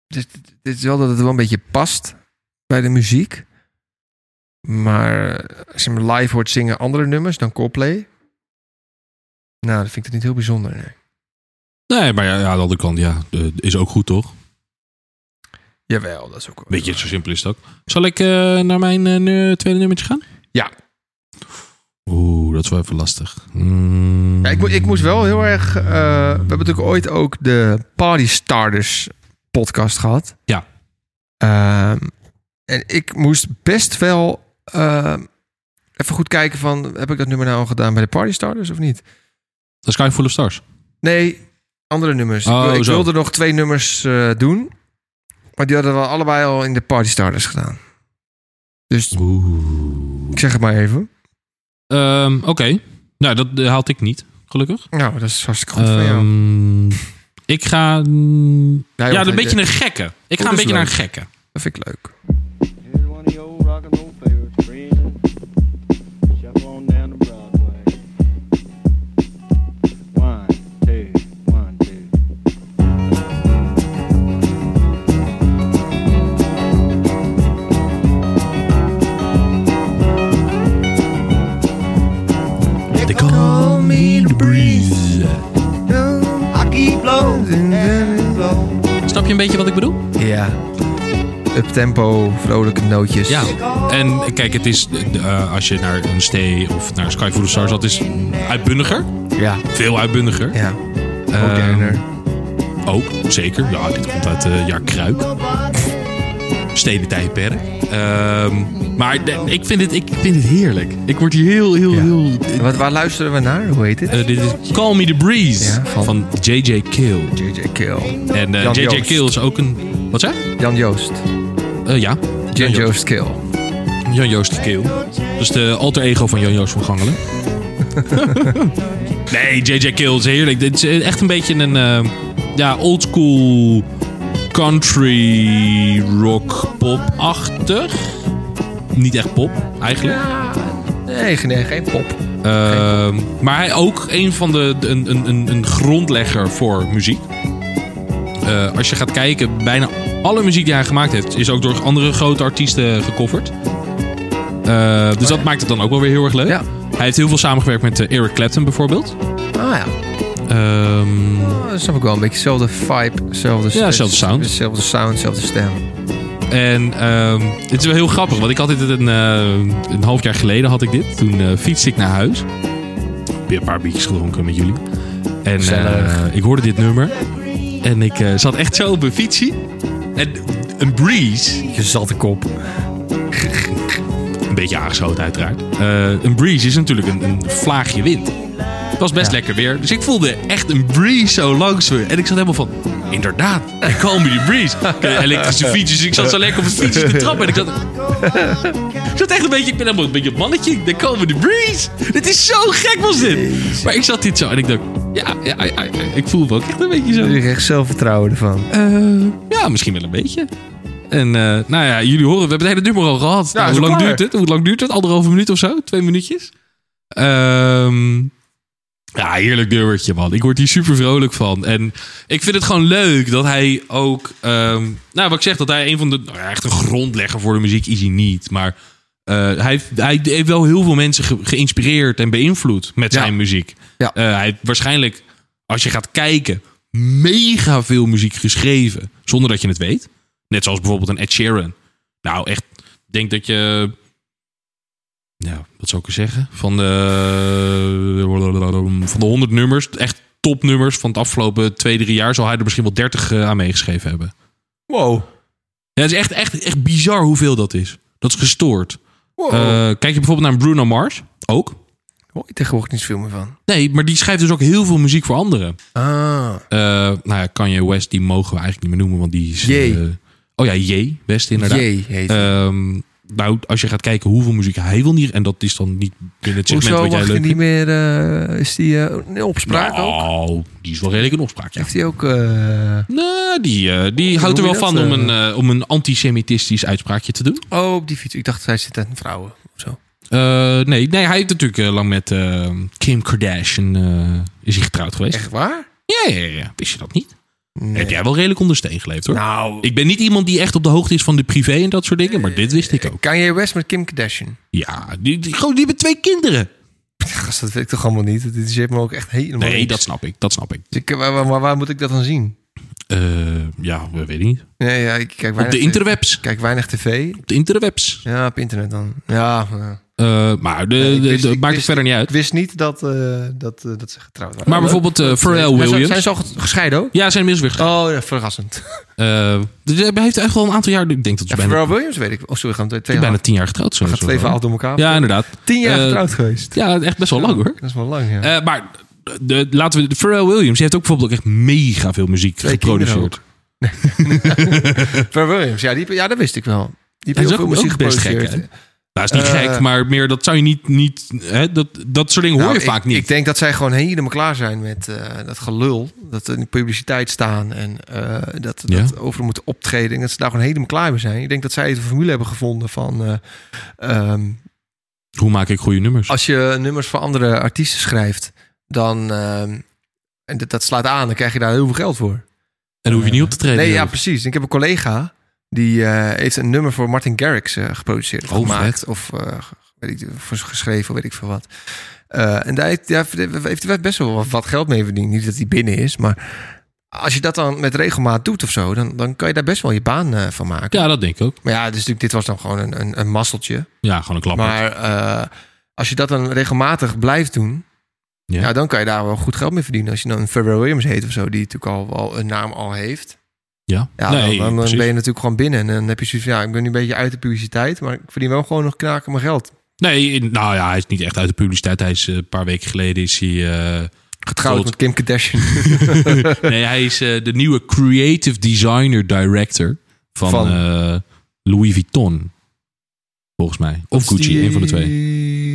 Speaker 3: Het is, het is wel dat het wel een beetje past bij de muziek. Maar als je hem live hoort zingen andere nummers dan Coldplay... Nou, dat vind ik het niet heel bijzonder, nee.
Speaker 2: Nee, maar ja, ja, aan de andere kant, ja, eh, is ook goed, toch?
Speaker 3: Jawel, dat is ook...
Speaker 2: Weet je, zo simpel is dat. Zal ik eh, naar mijn eh, nu- tweede nummertje gaan?
Speaker 3: Ja.
Speaker 2: Oeh, dat is wel even lastig. Mm.
Speaker 3: Ja, ik, mo- ik moest wel heel erg. eh, we hebben natuurlijk ooit ook de Party Starters podcast gehad.
Speaker 2: Ja.
Speaker 3: Ehm, en ik moest best wel ehm, even goed kijken van... heb ik dat nummer nou al gedaan bij de Party Starters of niet?
Speaker 2: The Sky Full of Stars.
Speaker 3: Nee, andere nummers. Ik
Speaker 2: Oh,
Speaker 3: wil- ik
Speaker 2: zo.
Speaker 3: wilde nog twee nummers eh, doen. Maar die hadden we allebei al in de Party Starters gedaan. Dus
Speaker 2: Oeh.
Speaker 3: ik zeg het maar even.
Speaker 2: Ehm, Oké. Nou, dat eh, haalt ik niet, gelukkig.
Speaker 3: Nou, dat is hartstikke goed van jou.
Speaker 2: Ehm, ik ga... mm,
Speaker 3: Ja, joh,
Speaker 2: ja, een
Speaker 3: dat-
Speaker 2: beetje een gekke. Ik ga
Speaker 3: dat
Speaker 2: een
Speaker 3: is
Speaker 2: beetje naar een
Speaker 3: leuk.
Speaker 2: gekke.
Speaker 3: Dat vind ik leuk.
Speaker 5: Here's one of your old rock and roll favorites, friend. Shuffle on down to Broadway. One, two, one, two.
Speaker 2: They call me the breeze.
Speaker 4: I keep blowing and blowing.
Speaker 2: Snap je een beetje wat ik bedoel?
Speaker 3: Ja. Uptempo, vrolijke nootjes.
Speaker 2: Ja. En kijk, het is eh, als je naar een stay of naar Sky Full of Stars, dat is uitbundiger.
Speaker 3: Ja.
Speaker 2: Veel uitbundiger.
Speaker 3: Ja.
Speaker 2: Ehm,
Speaker 3: Moderner.
Speaker 2: Ook, zeker. Ja, dit komt uit eh jaar Kruik. Stedentijdperk. Ehm maar de- ik vind, dit, ik vind dit heerlijk. Ik word hier heel, heel,
Speaker 3: Ja.
Speaker 2: heel...
Speaker 3: En Wat, waar luisteren we naar? Hoe heet dit?
Speaker 2: Eh, dit is Call Me The Breeze
Speaker 3: Ja, van-
Speaker 2: van... J.J. Kill.
Speaker 3: J.J. Kill.
Speaker 2: En eh,
Speaker 3: Jan
Speaker 2: J.J.
Speaker 3: Joost.
Speaker 2: Kill is ook een... Wat zei? je?
Speaker 3: Jan Joost.
Speaker 2: Eh, ja.
Speaker 3: Jan Joost Kill.
Speaker 2: Jan Joost Keel. Dat is de alter ego van Jan Joost van Gangelen. nee, JJ Keel is heerlijk. Dit is echt een beetje een eh ja, oldschool country rock pop-achtig. Niet echt pop, eigenlijk.
Speaker 3: Nee, geen, nee, geen pop.
Speaker 2: Ehm, maar hij ook een van de, de- een, een, een, een grondlegger voor muziek. Eh, als je gaat kijken, bijna alle muziek die hij gemaakt heeft, is ook door andere grote artiesten gecoverd. Eh, dus dat maakt het dan ook wel weer heel erg leuk.
Speaker 3: Ja.
Speaker 2: Hij heeft heel veel samengewerkt met eh, Eric Clapton bijvoorbeeld.
Speaker 3: Ah ja.
Speaker 2: Ehm,
Speaker 3: Oh, dat snap ik wel. Een beetje dezelfde vibe. Zelfde
Speaker 2: Ja, zelfde sound.
Speaker 3: Dezelfde sound, zelfde stem.
Speaker 2: En ehm het is wel heel grappig, want ik had dit een, eh, een half jaar geleden had ik dit. Toen eh, fietste ik naar huis. Weer een paar biertjes gedronken met jullie. En
Speaker 3: Gezellig.
Speaker 2: eh, ik hoorde dit nummer. En ik eh, zat echt zo op mijn fietsie. En een breeze,
Speaker 3: Je zatte kop.
Speaker 2: een beetje aangeschoten uiteraard. Eh, een breeze is natuurlijk een, een vlaagje wind. Het was best
Speaker 3: Ja.
Speaker 2: lekker weer. Dus ik voelde echt een breeze zo langs me. En ik zat helemaal van, inderdaad, ik call me die breeze. Ik had elektrische fietsjes. Ik zat zo lekker op mijn fietsje te trappen. En ik zat, (laughs) ik zat echt een beetje, ik ben helemaal een beetje een mannetje. Ik denk, call me the breeze. Dit is zo gek was dit. Maar ik zat dit zo en ik dacht, ja, ja, ja, ja, ik voel me ook echt een beetje zo.
Speaker 3: Je krijgt zelfvertrouwen ervan.
Speaker 2: Eh, ja, misschien wel een beetje. En eh, nou ja, jullie horen, we hebben het hele nummer al gehad. Nou,
Speaker 3: is
Speaker 2: hoe lang
Speaker 3: klaar.
Speaker 2: duurt het? Hoe lang duurt het? Anderhalve minuut of zo? Twee minuutjes? Ehm, ja, heerlijk nummertje, man. Ik word hier super vrolijk van. En ik vind het gewoon leuk dat hij ook... ehm, nou, wat ik zeg, dat hij een van de... nou ja, echt een grondlegger voor de muziek is hij niet. Maar eh, hij, heeft, hij heeft wel heel veel mensen ge- geïnspireerd en beïnvloed met
Speaker 3: Ja.
Speaker 2: zijn muziek.
Speaker 3: Ja.
Speaker 2: Eh, hij heeft waarschijnlijk, als je gaat kijken, mega veel muziek geschreven. Zonder dat je het weet. Net zoals bijvoorbeeld een Ed Sheeran. Nou, echt, ik denk dat je... Ja, wat zou ik er zeggen? Van de, van de 100 nummers, echt topnummers van het afgelopen 2, 3 jaar, zal hij er misschien wel 30 eh, aan meegeschreven hebben.
Speaker 3: Wow.
Speaker 2: Ja, het is echt, echt, echt bizar hoeveel dat is. Dat is gestoord.
Speaker 3: wow.
Speaker 2: Eh, kijk je bijvoorbeeld naar Bruno Mars, ook.
Speaker 3: Hoor je tegenwoordig niet zoveel meer van.
Speaker 2: Nee, maar die schrijft dus ook heel veel muziek voor anderen.
Speaker 3: Ah.
Speaker 2: Eh nou ja, Kanye West, eh, die mogen we eigenlijk niet meer noemen, want die is...
Speaker 3: Jay.
Speaker 2: eh, oh ja, J. West inderdaad.
Speaker 3: Jee, heet
Speaker 2: Ehm, nou, als je gaat kijken hoeveel muziek hij wil niet... en dat is dan niet binnen het segment
Speaker 3: Hoezo
Speaker 2: wat jij
Speaker 3: mag je
Speaker 2: leuk
Speaker 3: niet
Speaker 2: vindt.
Speaker 3: meer... eh, is die eh, in opspraak ook?
Speaker 2: Nou, die is wel redelijk een opspraak, ja.
Speaker 3: Heeft hij ook... eh,
Speaker 2: Nou, die, eh, die
Speaker 3: Hoe
Speaker 2: houdt er
Speaker 3: noem
Speaker 2: wel
Speaker 3: je dat,
Speaker 2: van om
Speaker 3: eh?
Speaker 2: een, eh, om een antisemitistisch uitspraakje te doen.
Speaker 3: oh, op die fiets. Ik dacht, hij zit aan vrouwen. of Zo.
Speaker 2: Eh, nee, nee, hij heeft natuurlijk eh, lang met eh, Kim Kardashian eh, is hij getrouwd geweest.
Speaker 3: Echt waar?
Speaker 2: Ja, ja, ja, ja. Wist je dat niet?
Speaker 3: Nee.
Speaker 2: Heb jij wel redelijk onder steen geleefd, hoor.
Speaker 3: Nou,
Speaker 2: Ik ben niet iemand die echt op de hoogte is van de privé en dat soort dingen, maar dit wist ik ook.
Speaker 3: Kanye West met Kim Kardashian.
Speaker 2: Ja, die, die, gewoon, die hebben twee kinderen.
Speaker 3: Gast, dat weet ik toch allemaal niet? Dit zit me ook echt helemaal
Speaker 2: Nee,
Speaker 3: niks.
Speaker 2: dat snap ik, dat snap ik.
Speaker 3: Dus ik, waar, waar- waar- waar moet ik dat dan zien?
Speaker 2: Eh, ja, we weten niet.
Speaker 3: Nee, ja, ik kijk weinig
Speaker 2: Op de
Speaker 3: tv.
Speaker 2: interwebs.
Speaker 3: Ik kijk weinig tv.
Speaker 2: Op de interwebs.
Speaker 3: Ja, op internet dan. Ja, ja.
Speaker 2: Eh, maar de,
Speaker 3: Nee, ik
Speaker 2: de-
Speaker 3: wist-
Speaker 2: de-
Speaker 3: ik
Speaker 2: maakt het
Speaker 3: wist-
Speaker 2: verder niet
Speaker 3: Ik
Speaker 2: uit.
Speaker 3: wist niet dat, eh, dat, eh, dat ze getrouwd waren.
Speaker 2: Maar bijvoorbeeld eh, Pharrell
Speaker 3: Zijn ze-
Speaker 2: Williams.
Speaker 3: Zijn ze al ge- gescheiden ook?
Speaker 2: Ja, zijn inmiddels weer getrouwd.
Speaker 3: Oh, ja, (laughs) verrassend.
Speaker 2: Eh, dus hij heeft echt wel een aantal jaar... Ik denk dat
Speaker 3: Ja,
Speaker 2: ze bijna,
Speaker 3: Pharrell Williams weet ik. Oh, sorry, we gaan twee, twee,
Speaker 2: bijna
Speaker 3: bijna
Speaker 2: tien jaar getrouwd zijn.
Speaker 3: we gaan
Speaker 2: of zo.
Speaker 3: twee verhalen door elkaar.
Speaker 2: Ja, inderdaad.
Speaker 3: Tien jaar
Speaker 2: Eh,
Speaker 3: getrouwd geweest.
Speaker 2: Ja, echt best wel lang hoor.
Speaker 3: Dat is wel lang, ja.
Speaker 2: Eh, maar de, laten we... de- Pharrell Williams die heeft ook bijvoorbeeld ook echt mega veel muziek
Speaker 3: Twee kinderen
Speaker 2: geproduceerd.
Speaker 3: ook. Pharrell Williams, ja, die, ja, dat wist ik wel. Die
Speaker 2: Dat
Speaker 3: heeft
Speaker 2: is
Speaker 3: heel veel
Speaker 2: ook,
Speaker 3: muziek
Speaker 2: ook best gek, hè?
Speaker 3: geproduceerd.
Speaker 2: Nou, is niet
Speaker 3: Eh,
Speaker 2: gek, maar meer dat zou je niet... niet hè, dat, dat soort dingen hoor
Speaker 3: Nou,
Speaker 2: je
Speaker 3: ik-
Speaker 2: vaak niet.
Speaker 3: Ik denk dat zij gewoon helemaal klaar zijn met eh, dat gelul. Dat ze in de publiciteit staan en eh, dat,
Speaker 2: Ja.
Speaker 3: dat overal moeten optreden. En dat ze daar gewoon helemaal klaar mee zijn. Ik denk dat zij de formule hebben gevonden van... eh, ehm,
Speaker 2: Hoe maak ik goede nummers?
Speaker 3: als je nummers voor andere artiesten schrijft, dan... ehm, en dat, dat slaat aan, dan krijg je daar heel veel geld voor.
Speaker 2: en dan hoef je niet op te treden.
Speaker 3: Nee, ja,
Speaker 2: joh.
Speaker 3: precies. Ik heb een collega die eh, heeft een nummer voor Martin Garrix eh, geproduceerd. Of
Speaker 2: Oh,
Speaker 3: gemaakt.
Speaker 2: vet.
Speaker 3: Of eh, ge- weet ik, voor geschreven, of weet ik veel wat. Eh, en daar heeft, daar heeft hij best wel wat, wat geld mee verdiend. Niet dat hij binnen is, maar als je dat dan met regelmaat doet of zo, dan, dan kan je daar best wel je baan eh, van maken.
Speaker 2: Ja, dat denk ik ook.
Speaker 3: Maar ja, dus natuurlijk, dit was dan gewoon een, een, een masseltje.
Speaker 2: Ja, gewoon een klapper.
Speaker 3: Maar eh, als je dat dan regelmatig blijft doen,
Speaker 2: Ja.
Speaker 3: ja. dan kan je daar wel goed geld mee verdienen. Als je dan een Pharrell Williams heet of zo, die natuurlijk al, al een naam al heeft.
Speaker 2: ja,
Speaker 3: Ja,
Speaker 2: nee,
Speaker 3: dan, dan
Speaker 2: precies.
Speaker 3: ben je natuurlijk gewoon binnen. En dan heb je zoiets van, ja, ik ben nu een beetje uit de publiciteit, maar ik verdien wel gewoon nog knaken mijn geld.
Speaker 2: Nee, in- nou ja, hij is niet echt uit de publiciteit. Hij is eh, een paar weken geleden is hij. eh,
Speaker 3: Getrouwd
Speaker 2: Tot-
Speaker 3: met Kim Kardashian.
Speaker 2: nee, hij is eh, de nieuwe creative designer director van,
Speaker 3: Van?
Speaker 2: eh, Louis Vuitton. Volgens mij. (laughs) Of Gucci,
Speaker 3: Die-
Speaker 2: een van de twee.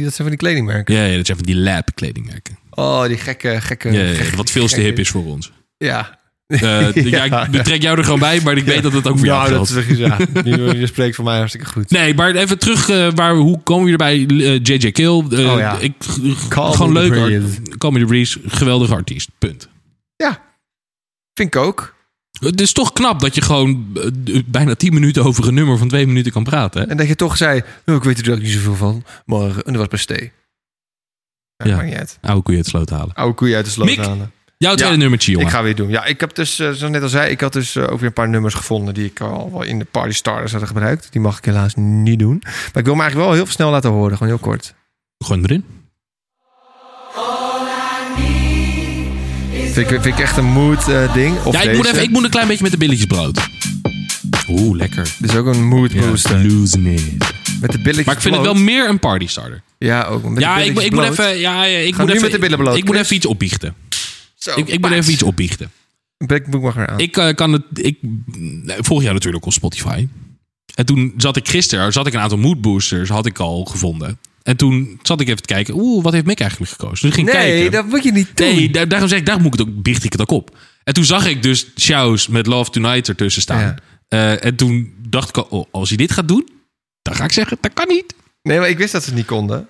Speaker 3: Dat zijn van die kledingmerken.
Speaker 2: Ja, ja, dat zijn van die lab kledingmerken.
Speaker 3: Oh, die gekke, gekke...
Speaker 2: Ja, ja, ja,
Speaker 3: gekke-
Speaker 2: wat veel te
Speaker 3: gekke-
Speaker 2: hip is voor ons.
Speaker 3: Ja.
Speaker 2: Eh,
Speaker 3: (laughs)
Speaker 2: ja, ik betrek jou er gewoon bij, maar ik weet dat het ook voor jou
Speaker 3: nou,
Speaker 2: geldt.
Speaker 3: dat is
Speaker 2: (laughs)
Speaker 3: ja. Je spreekt voor mij hartstikke goed.
Speaker 2: Nee, maar even terug. eh, waar, hoe komen we erbij? Eh, JJ Kill. eh,
Speaker 3: Oh ja.
Speaker 2: ik,
Speaker 3: Call
Speaker 2: gewoon
Speaker 3: me the
Speaker 2: leuk.
Speaker 3: brilliant.
Speaker 2: art- Call me the Breeze. Geweldige artiest. Punt.
Speaker 3: Ja, vind ik ook.
Speaker 2: Het is toch knap dat je gewoon eh, d- bijna 10 minuten over een nummer van 2 minuten kan praten. Hè?
Speaker 3: En dat je toch zei, oh, ik weet er ook niet zoveel van. Maar eh, en dat was best thee. Ja,
Speaker 2: Ja.
Speaker 3: maakt niet uit.
Speaker 2: Oude koeien uit het sloot halen.
Speaker 3: Oude koeien uit de sloot
Speaker 2: Mick,
Speaker 3: halen.
Speaker 2: Jouw tweede
Speaker 3: Ja,
Speaker 2: nummertje, jongen.
Speaker 3: Ik ga weer doen. Ja, ik heb dus, eh, zoals net al zei, ik had dus eh, ook weer een paar nummers gevonden die ik al wel in de Party Starters had gebruikt. Die mag ik helaas niet doen. Maar ik wil hem eigenlijk wel heel veel snel laten horen, gewoon heel kort.
Speaker 2: Gewoon erin.
Speaker 3: Vind ik, vind ik echt een mood eh, ding. Of
Speaker 2: Ja, ik
Speaker 3: deze.
Speaker 2: moet, even, ik moet een klein beetje met de billetjes brood. Oeh, lekker.
Speaker 3: Dit is ook een mood booster. Met de billetjes
Speaker 2: Maar ik vind het wel
Speaker 3: bloot.
Speaker 2: meer een partystarter.
Speaker 3: Ja, ook. Met de
Speaker 2: Ja, ik,
Speaker 3: billetjes
Speaker 2: ik moet
Speaker 3: bloot.
Speaker 2: even... Ja, ja, ik
Speaker 3: Gaan
Speaker 2: moet
Speaker 3: nu
Speaker 2: even,
Speaker 3: met de billen bloot,
Speaker 2: Ik moet
Speaker 3: Chris. Oh,
Speaker 2: even iets opbiechten.
Speaker 3: Zo,
Speaker 2: Ik, ik moet
Speaker 3: paats.
Speaker 2: even iets opbiechten.
Speaker 3: Ik moet maar weer aan.
Speaker 2: Ik eh, kan het... Ik nee, volg jou natuurlijk op Spotify. En toen zat ik gisteren... Zat ik een aantal moodboosters had ik al gevonden. En toen zat ik even te kijken... Oeh, wat heeft Mick eigenlijk gekozen? Dus ik ging kijken.
Speaker 3: nee, dat moet je niet doen.
Speaker 2: Nee, daar, daarom zeg ik, daar moet ik het ook, biecht ik het ook op. En toen zag ik dus Shows met Love Tonight ertussen staan.
Speaker 3: Ja.
Speaker 2: Eh, en toen dacht ik, al, oh, als hij dit gaat doen, dan ga ik zeggen, dat kan niet.
Speaker 3: Nee, maar ik wist dat ze het niet konden.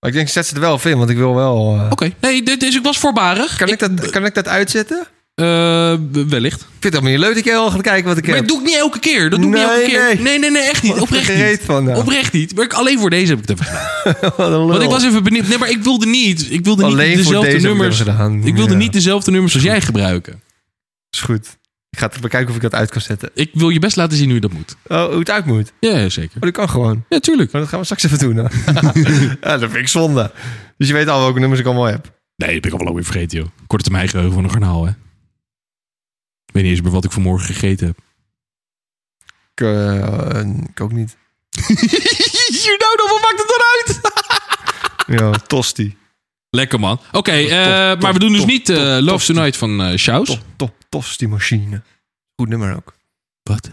Speaker 3: Maar ik denk, zet ze er wel of in, want ik wil wel... eh,
Speaker 2: Oké, nee, dit is, Oh, ik was voorbarig.
Speaker 3: Kan ik, dat, kan ik dat uitzetten? Ik
Speaker 2: Eh, wellicht.
Speaker 3: vind het allemaal niet leuk dat ik heel erg ga kijken wat ik
Speaker 2: Maar
Speaker 3: heb.
Speaker 2: dat doe ik niet elke keer. Dat doe ik niet
Speaker 3: Nee,
Speaker 2: elke keer.
Speaker 3: nee.
Speaker 2: nee, nee, nee, echt niet.
Speaker 3: Wat
Speaker 2: Oprecht
Speaker 3: gereed
Speaker 2: niet.
Speaker 3: van nou.
Speaker 2: Oprecht niet. Maar ik, alleen voor deze heb ik het even gedaan.
Speaker 3: Wat een lul.
Speaker 2: Want ik was even benieuwd. Nee, maar ik wilde niet, ik wilde
Speaker 3: Alleen
Speaker 2: niet
Speaker 3: voor
Speaker 2: dezelfde
Speaker 3: deze heb ik
Speaker 2: nummers.
Speaker 3: het even gedaan.
Speaker 2: Ik wilde
Speaker 3: Ja.
Speaker 2: niet dezelfde nummers als jij gebruiken.
Speaker 3: Is goed. Ik ga het bekijken of ik dat uit kan zetten.
Speaker 2: Ik wil je best laten zien hoe je dat moet.
Speaker 3: Oh, hoe het uit moet. Oh,
Speaker 2: Ja, zeker.
Speaker 3: dat kan gewoon.
Speaker 2: Ja, tuurlijk.
Speaker 3: Maar dat gaan we straks even
Speaker 2: (laughs)
Speaker 3: doen. hè. ja, dat vind ik zonde. Dus je weet al welke nummers ik allemaal heb.
Speaker 2: Nee, dat ben ik al wel weer vergeten, joh. Korte termijn geheugen van een garnaal, hè. Ik weet niet eens meer wat ik vanmorgen gegeten heb.
Speaker 3: Ik, eh, eh, ik ook niet.
Speaker 2: (laughs) you know, dan wat maakt het dan uit?
Speaker 3: Ja, tosti.
Speaker 2: (laughs) Lekker, man. Oké, eh,
Speaker 3: tof,
Speaker 2: maar we doen dus
Speaker 3: tof,
Speaker 2: niet eh,
Speaker 3: tof,
Speaker 2: Love
Speaker 3: tof,
Speaker 2: Tonight van eh Shouse.
Speaker 3: To, to, tosti machine. Goed nummer ook.
Speaker 2: Wat?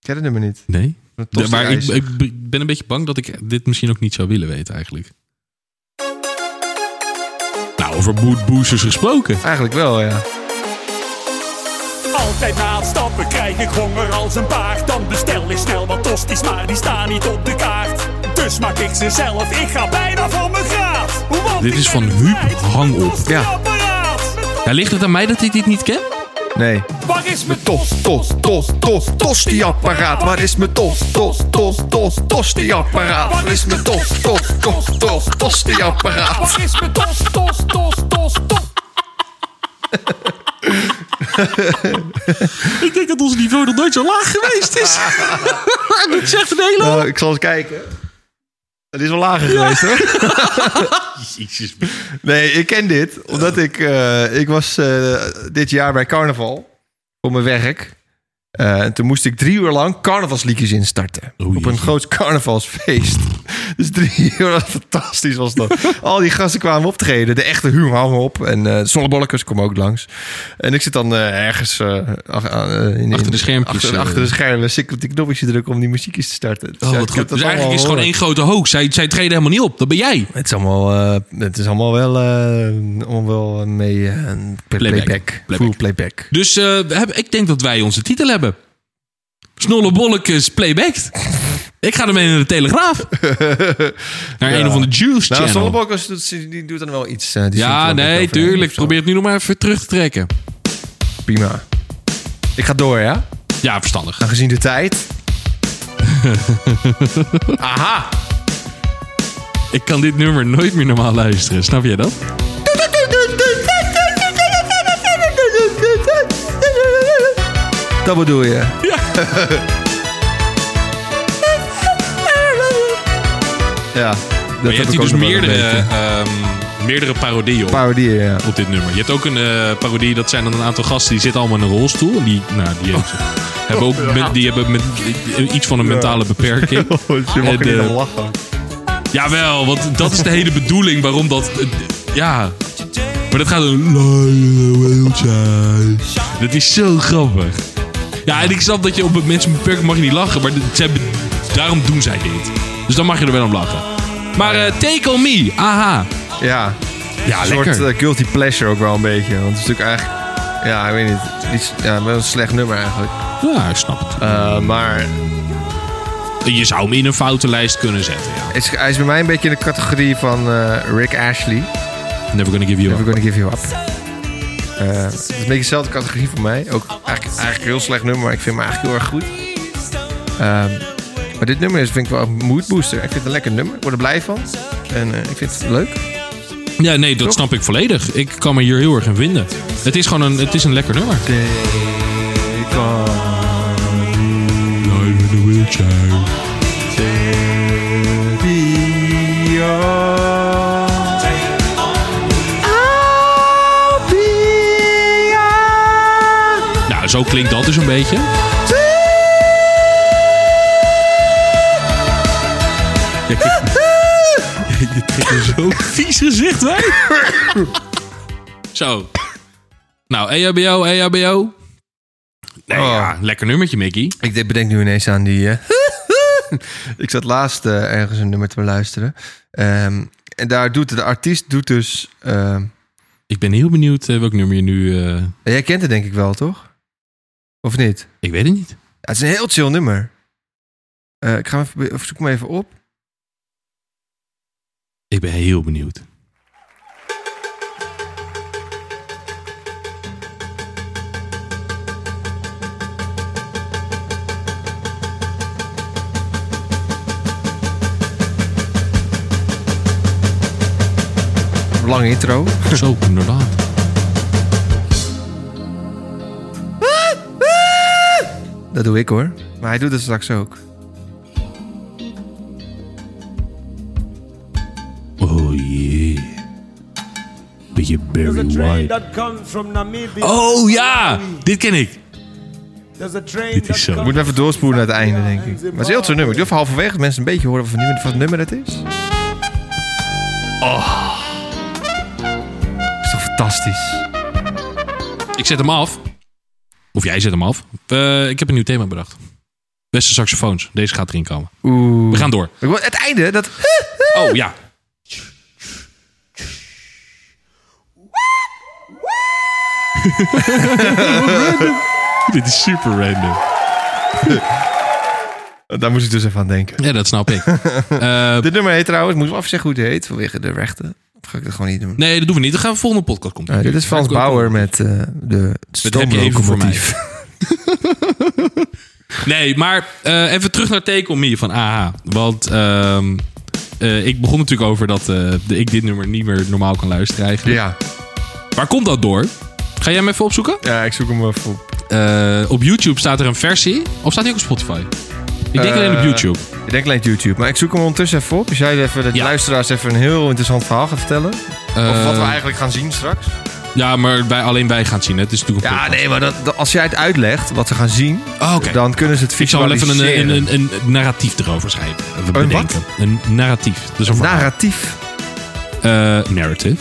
Speaker 3: Ken dat nummer niet.
Speaker 2: Nee?
Speaker 3: Een
Speaker 2: De- maar ik,
Speaker 3: tosti-ijs.
Speaker 2: ik b- ben een beetje bang dat ik dit misschien ook niet zou willen weten eigenlijk. Nou, over boot boosters gesproken.
Speaker 3: Eigenlijk wel, ja.
Speaker 6: Altijd na het stappen krijg ik honger als een paard. Dan bestel ik snel wat tosties, maar die staan niet op de kaart. Dus maak ik ze zelf, ik ga bijna van mijn graad. Want
Speaker 2: Dit
Speaker 6: ik
Speaker 2: is
Speaker 6: ben
Speaker 2: van
Speaker 6: het
Speaker 2: Huub
Speaker 6: kwijt.
Speaker 2: Hangop.
Speaker 6: Het kostenapparaat.
Speaker 2: Ja, ligt het aan mij dat ik dit niet ken?
Speaker 3: Nee.
Speaker 6: Waar is mijn tos?
Speaker 3: tos, tos, tos, tosti-apparaat. Waar is mijn tos, tos, tos, tos, tosti-apparaat? Waar is mijn tos, tos, tos, tos, tosti-apparaat?
Speaker 6: Waar is mijn tos? Tos, tos, tos, tos.
Speaker 2: Ik denk dat ons niveau nog nooit zo laag geweest (laughs) is. dat zegt een hele
Speaker 3: Nou, ik zal eens kijken. Het is wel lager geweest, hoor.
Speaker 6: (laughs)
Speaker 2: Jezus.
Speaker 3: Nee, ik ken dit. Omdat ik... eh, ik was eh, dit jaar bij carnaval. Voor mijn werk. Eh, en toen moest ik drie uur lang carnavalsliedjes instarten.
Speaker 2: Oei,
Speaker 3: op een
Speaker 2: jeetje.
Speaker 3: groot carnavalsfeest. (laughs) Dus drie uur, dat fantastisch
Speaker 2: (laughs)
Speaker 3: was dat. Al die gasten kwamen optreden. De echte Huum hang op. En eh Zonnebollekers kwam ook langs. En ik zit dan eh, ergens... eh, ach- aan, eh, in-
Speaker 2: Achter de
Speaker 3: in-
Speaker 2: schermpjes,
Speaker 3: Achter,
Speaker 2: eh.
Speaker 3: achter de schermen. zit ik op die knopjes te drukken om die muziekjes te starten. Dus ja,
Speaker 2: Oh,
Speaker 3: ik
Speaker 2: wat
Speaker 3: heb
Speaker 2: goed.
Speaker 3: dat
Speaker 2: Dus eigenlijk
Speaker 3: allemaal
Speaker 2: is het gewoon
Speaker 3: gehoord.
Speaker 2: één grote hoax. Zij, zij treden helemaal niet op. Dat ben jij.
Speaker 3: Het is allemaal, eh, het is allemaal wel, eh, allemaal wel mee eh, playback.
Speaker 2: Playback.
Speaker 3: Full playback.
Speaker 2: Dus eh, we hebben- ik denk dat wij onze titel hebben. Snollebollekes playbacked. Ik ga ermee naar de (laughs) Telegraaf. Naar een of andere Juice
Speaker 3: Nou,
Speaker 2: Channel.
Speaker 3: Zonnebokkers doet, die doet dan wel iets. eh, die zingt
Speaker 2: ja,
Speaker 3: wel een
Speaker 2: nee,
Speaker 3: beetje overheen
Speaker 2: tuurlijk.
Speaker 3: of zo.
Speaker 2: Probeer het nu nog maar even terug te trekken.
Speaker 3: Prima. Ik ga door, ja?
Speaker 2: Ja, verstandig.
Speaker 3: Aangezien de tijd. Aha!
Speaker 2: Ik kan dit nummer nooit meer normaal luisteren. Snap jij dat?
Speaker 3: Dat bedoel je. Ja. (laughs) ja. Dat
Speaker 2: Maar je hebt hier dus meerdere, ehm, meerdere parodieën op.
Speaker 3: parodieën, ja.
Speaker 2: op dit nummer. Je hebt ook een eh, parodie, dat zijn dan een aantal gasten die zitten allemaal in een rolstoel. En die, nou, die hebben- hebben ook men- die hebben met, iets van een mentale beperking.
Speaker 3: Je
Speaker 2: mag er niet om
Speaker 3: lachen.
Speaker 2: Jawel, want dat is de hele bedoeling waarom dat. eh, ja. Maar dat gaat een. Dat is zo grappig. Ja, en ik snap dat je op het mensen met beperking mag je niet lachen, maar dit- ze hebben- daarom doen zij dit. Dus dan mag je er wel om lachen. Maar eh, Take On Me, aha.
Speaker 3: Ja.
Speaker 2: Ja,
Speaker 3: Een soort eh, guilty pleasure ook wel een beetje. Want het is natuurlijk eigenlijk... Ja, ik weet niet. Iets, ja, wel een slecht nummer eigenlijk.
Speaker 2: Ja, ik snap het.
Speaker 3: Eh, maar
Speaker 2: Je zou hem in een foutenlijst kunnen zetten, ja.
Speaker 3: het is, hij is bij mij een beetje in de categorie van eh, Rick Ashley.
Speaker 2: Never gonna give you
Speaker 3: If
Speaker 2: up.
Speaker 3: we're gonna give you up. Eh, het is een beetje dezelfde categorie voor mij. Ook eigenlijk, eigenlijk een heel slecht nummer, maar ik vind hem eigenlijk heel erg goed. Ehm, maar dit nummer is, vind ik wel een mood booster. Ik vind het een lekker nummer. Ik word er blij van. En eh, ik vind het leuk.
Speaker 2: Ja, nee, dat snap ik volledig. Ik kan me hier heel erg in vinden. Het is gewoon een, het is een lekker nummer. Nou, zo klinkt dat dus een beetje. (laughs) Je trekt er zo vies gezicht bij. Zo. Nou, EHBO, EHBO. Nee,
Speaker 3: Oh.
Speaker 2: ja, Ah, lekker nummertje, Mickey.
Speaker 3: Ik denk- bedenk nu ineens aan die. eh, (laughs) ik zat laatst eh, ergens een nummer te beluisteren. Ehm, en daar doet de artiest doet dus. ehm,
Speaker 2: Ik ben heel benieuwd eh, welk nummer je nu... eh,
Speaker 3: jij kent het denk ik wel, toch? Of niet?
Speaker 2: ik weet het niet.
Speaker 3: Ja, het is een heel chill nummer. Eh, ik ga hem even, be- of zoek hem even op.
Speaker 2: Ik ben heel benieuwd.
Speaker 3: Lange intro.
Speaker 2: Zo, inderdaad.
Speaker 3: Dat doe ik hoor. Maar hij doet het straks ook.
Speaker 2: Oh yeah. Beetje Barry
Speaker 7: train
Speaker 2: White.
Speaker 7: that comes from Namibia.
Speaker 2: Oh ja, dit ken ik.
Speaker 7: There's a train
Speaker 2: Dit
Speaker 7: that
Speaker 2: is zo.
Speaker 7: comes
Speaker 3: Moet hem even doorspoelen naar het einde, denk ik. Maar het is heel chill nummer. Ik doe even halverwege dat mensen een beetje horen van wat het nummer dat is. Oh. Is toch fantastisch?
Speaker 2: Ik zet hem af. Of jij zet hem af. Eh, ik heb een nieuw thema bedacht. Beste saxofoons. Deze gaat erin komen.
Speaker 3: Oeh.
Speaker 2: We gaan door.
Speaker 3: Ik word- Het einde, dat... (laughs)
Speaker 2: Oh ja. (laughs) Dit is super random.
Speaker 3: Daar moest ik dus even aan denken.
Speaker 2: Ja, dat snap ik.
Speaker 3: Dit nummer heet trouwens, moet ik afzeggen hoe het heet, vanwege de rechten. Of ga ik dat gewoon niet doen?
Speaker 2: Nee, dat doen we niet. Dan gaan we volgende podcast komt.
Speaker 3: Nou, dit is Frans Bauer met eh de
Speaker 2: heb je even voor mij.
Speaker 3: stoomlocomotief.
Speaker 2: Nee, maar eh, even terug naar Take On Me van AH. Want ehm, eh, ik begon natuurlijk over dat eh, de, ik dit nummer niet meer normaal kan luisteren eigenlijk.
Speaker 3: (laughs) Ja.
Speaker 2: Waar komt dat door? Ga jij hem even opzoeken?
Speaker 3: ja, ik zoek hem even op.
Speaker 2: Eh, op YouTube staat er een versie. Of staat hij ook op Spotify? Ik denk alleen op
Speaker 3: Eh,
Speaker 2: YouTube.
Speaker 3: Ik denk alleen op YouTube, maar ik zoek hem ondertussen even op. Dus jij even de
Speaker 2: Ja.
Speaker 3: luisteraars even een heel interessant verhaal gaat vertellen. of wat we
Speaker 2: Eh,
Speaker 3: eigenlijk gaan zien straks.
Speaker 2: Ja, maar wij, alleen wij gaan het zien. hè. Het is natuurlijk een
Speaker 3: Ja,
Speaker 2: podcast.
Speaker 3: nee, maar dat, dat- als jij het uitlegt, wat ze gaan zien,
Speaker 2: Oh, oké.
Speaker 3: dan kunnen ze het
Speaker 2: Ik zal wel even
Speaker 3: visualiseren.
Speaker 2: een, een, een, een narratief erover schrijven. Even
Speaker 3: wat?
Speaker 2: bedenken. Een narratief. Dus een verhaal.
Speaker 3: Narratief.
Speaker 2: Eh, narrative.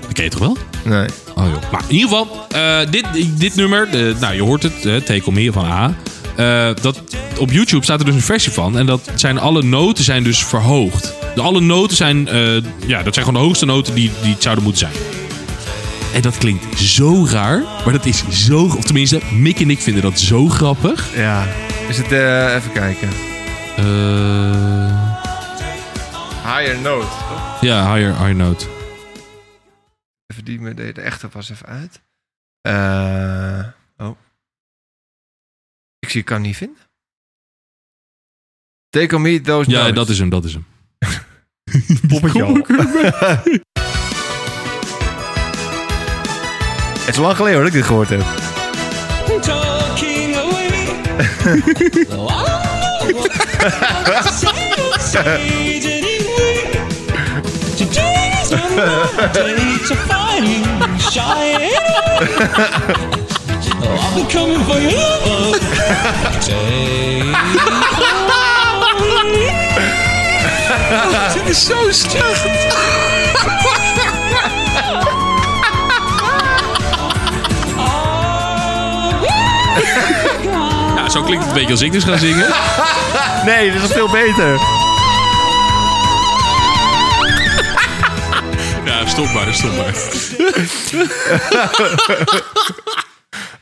Speaker 2: Dat ken je toch wel?
Speaker 3: Nee.
Speaker 2: Oh joh. Maar in ieder geval, eh, dit, dit nummer, eh, nou je hoort het, eh, Take On Me van A. Eh, dat, op YouTube staat er dus een versie van. En dat zijn alle noten zijn dus verhoogd. De, alle noten zijn, eh, ja, dat zijn gewoon de hoogste noten die, die het zouden moeten zijn. En dat klinkt zo raar, maar dat is zo... Of tenminste, Mick en ik vinden dat zo grappig.
Speaker 3: Ja. Is het, eh, even kijken.
Speaker 2: Eh,
Speaker 3: Higher note.
Speaker 2: ja, higher, higher note.
Speaker 3: Even die met de, de echte pas even uit. Eh, oh. Ik zie, ik kan hem niet vinden. Take on me those
Speaker 2: Ja,
Speaker 3: notes.
Speaker 2: dat is hem, dat is hem.
Speaker 3: Het is lang geleden hoor, dat ik dit gehoord heb.
Speaker 2: Ja, zo klinkt het een beetje als ik dus ga zingen.
Speaker 3: Nee, dit is veel beter.
Speaker 2: (laughs) Ja, stop maar, stop maar.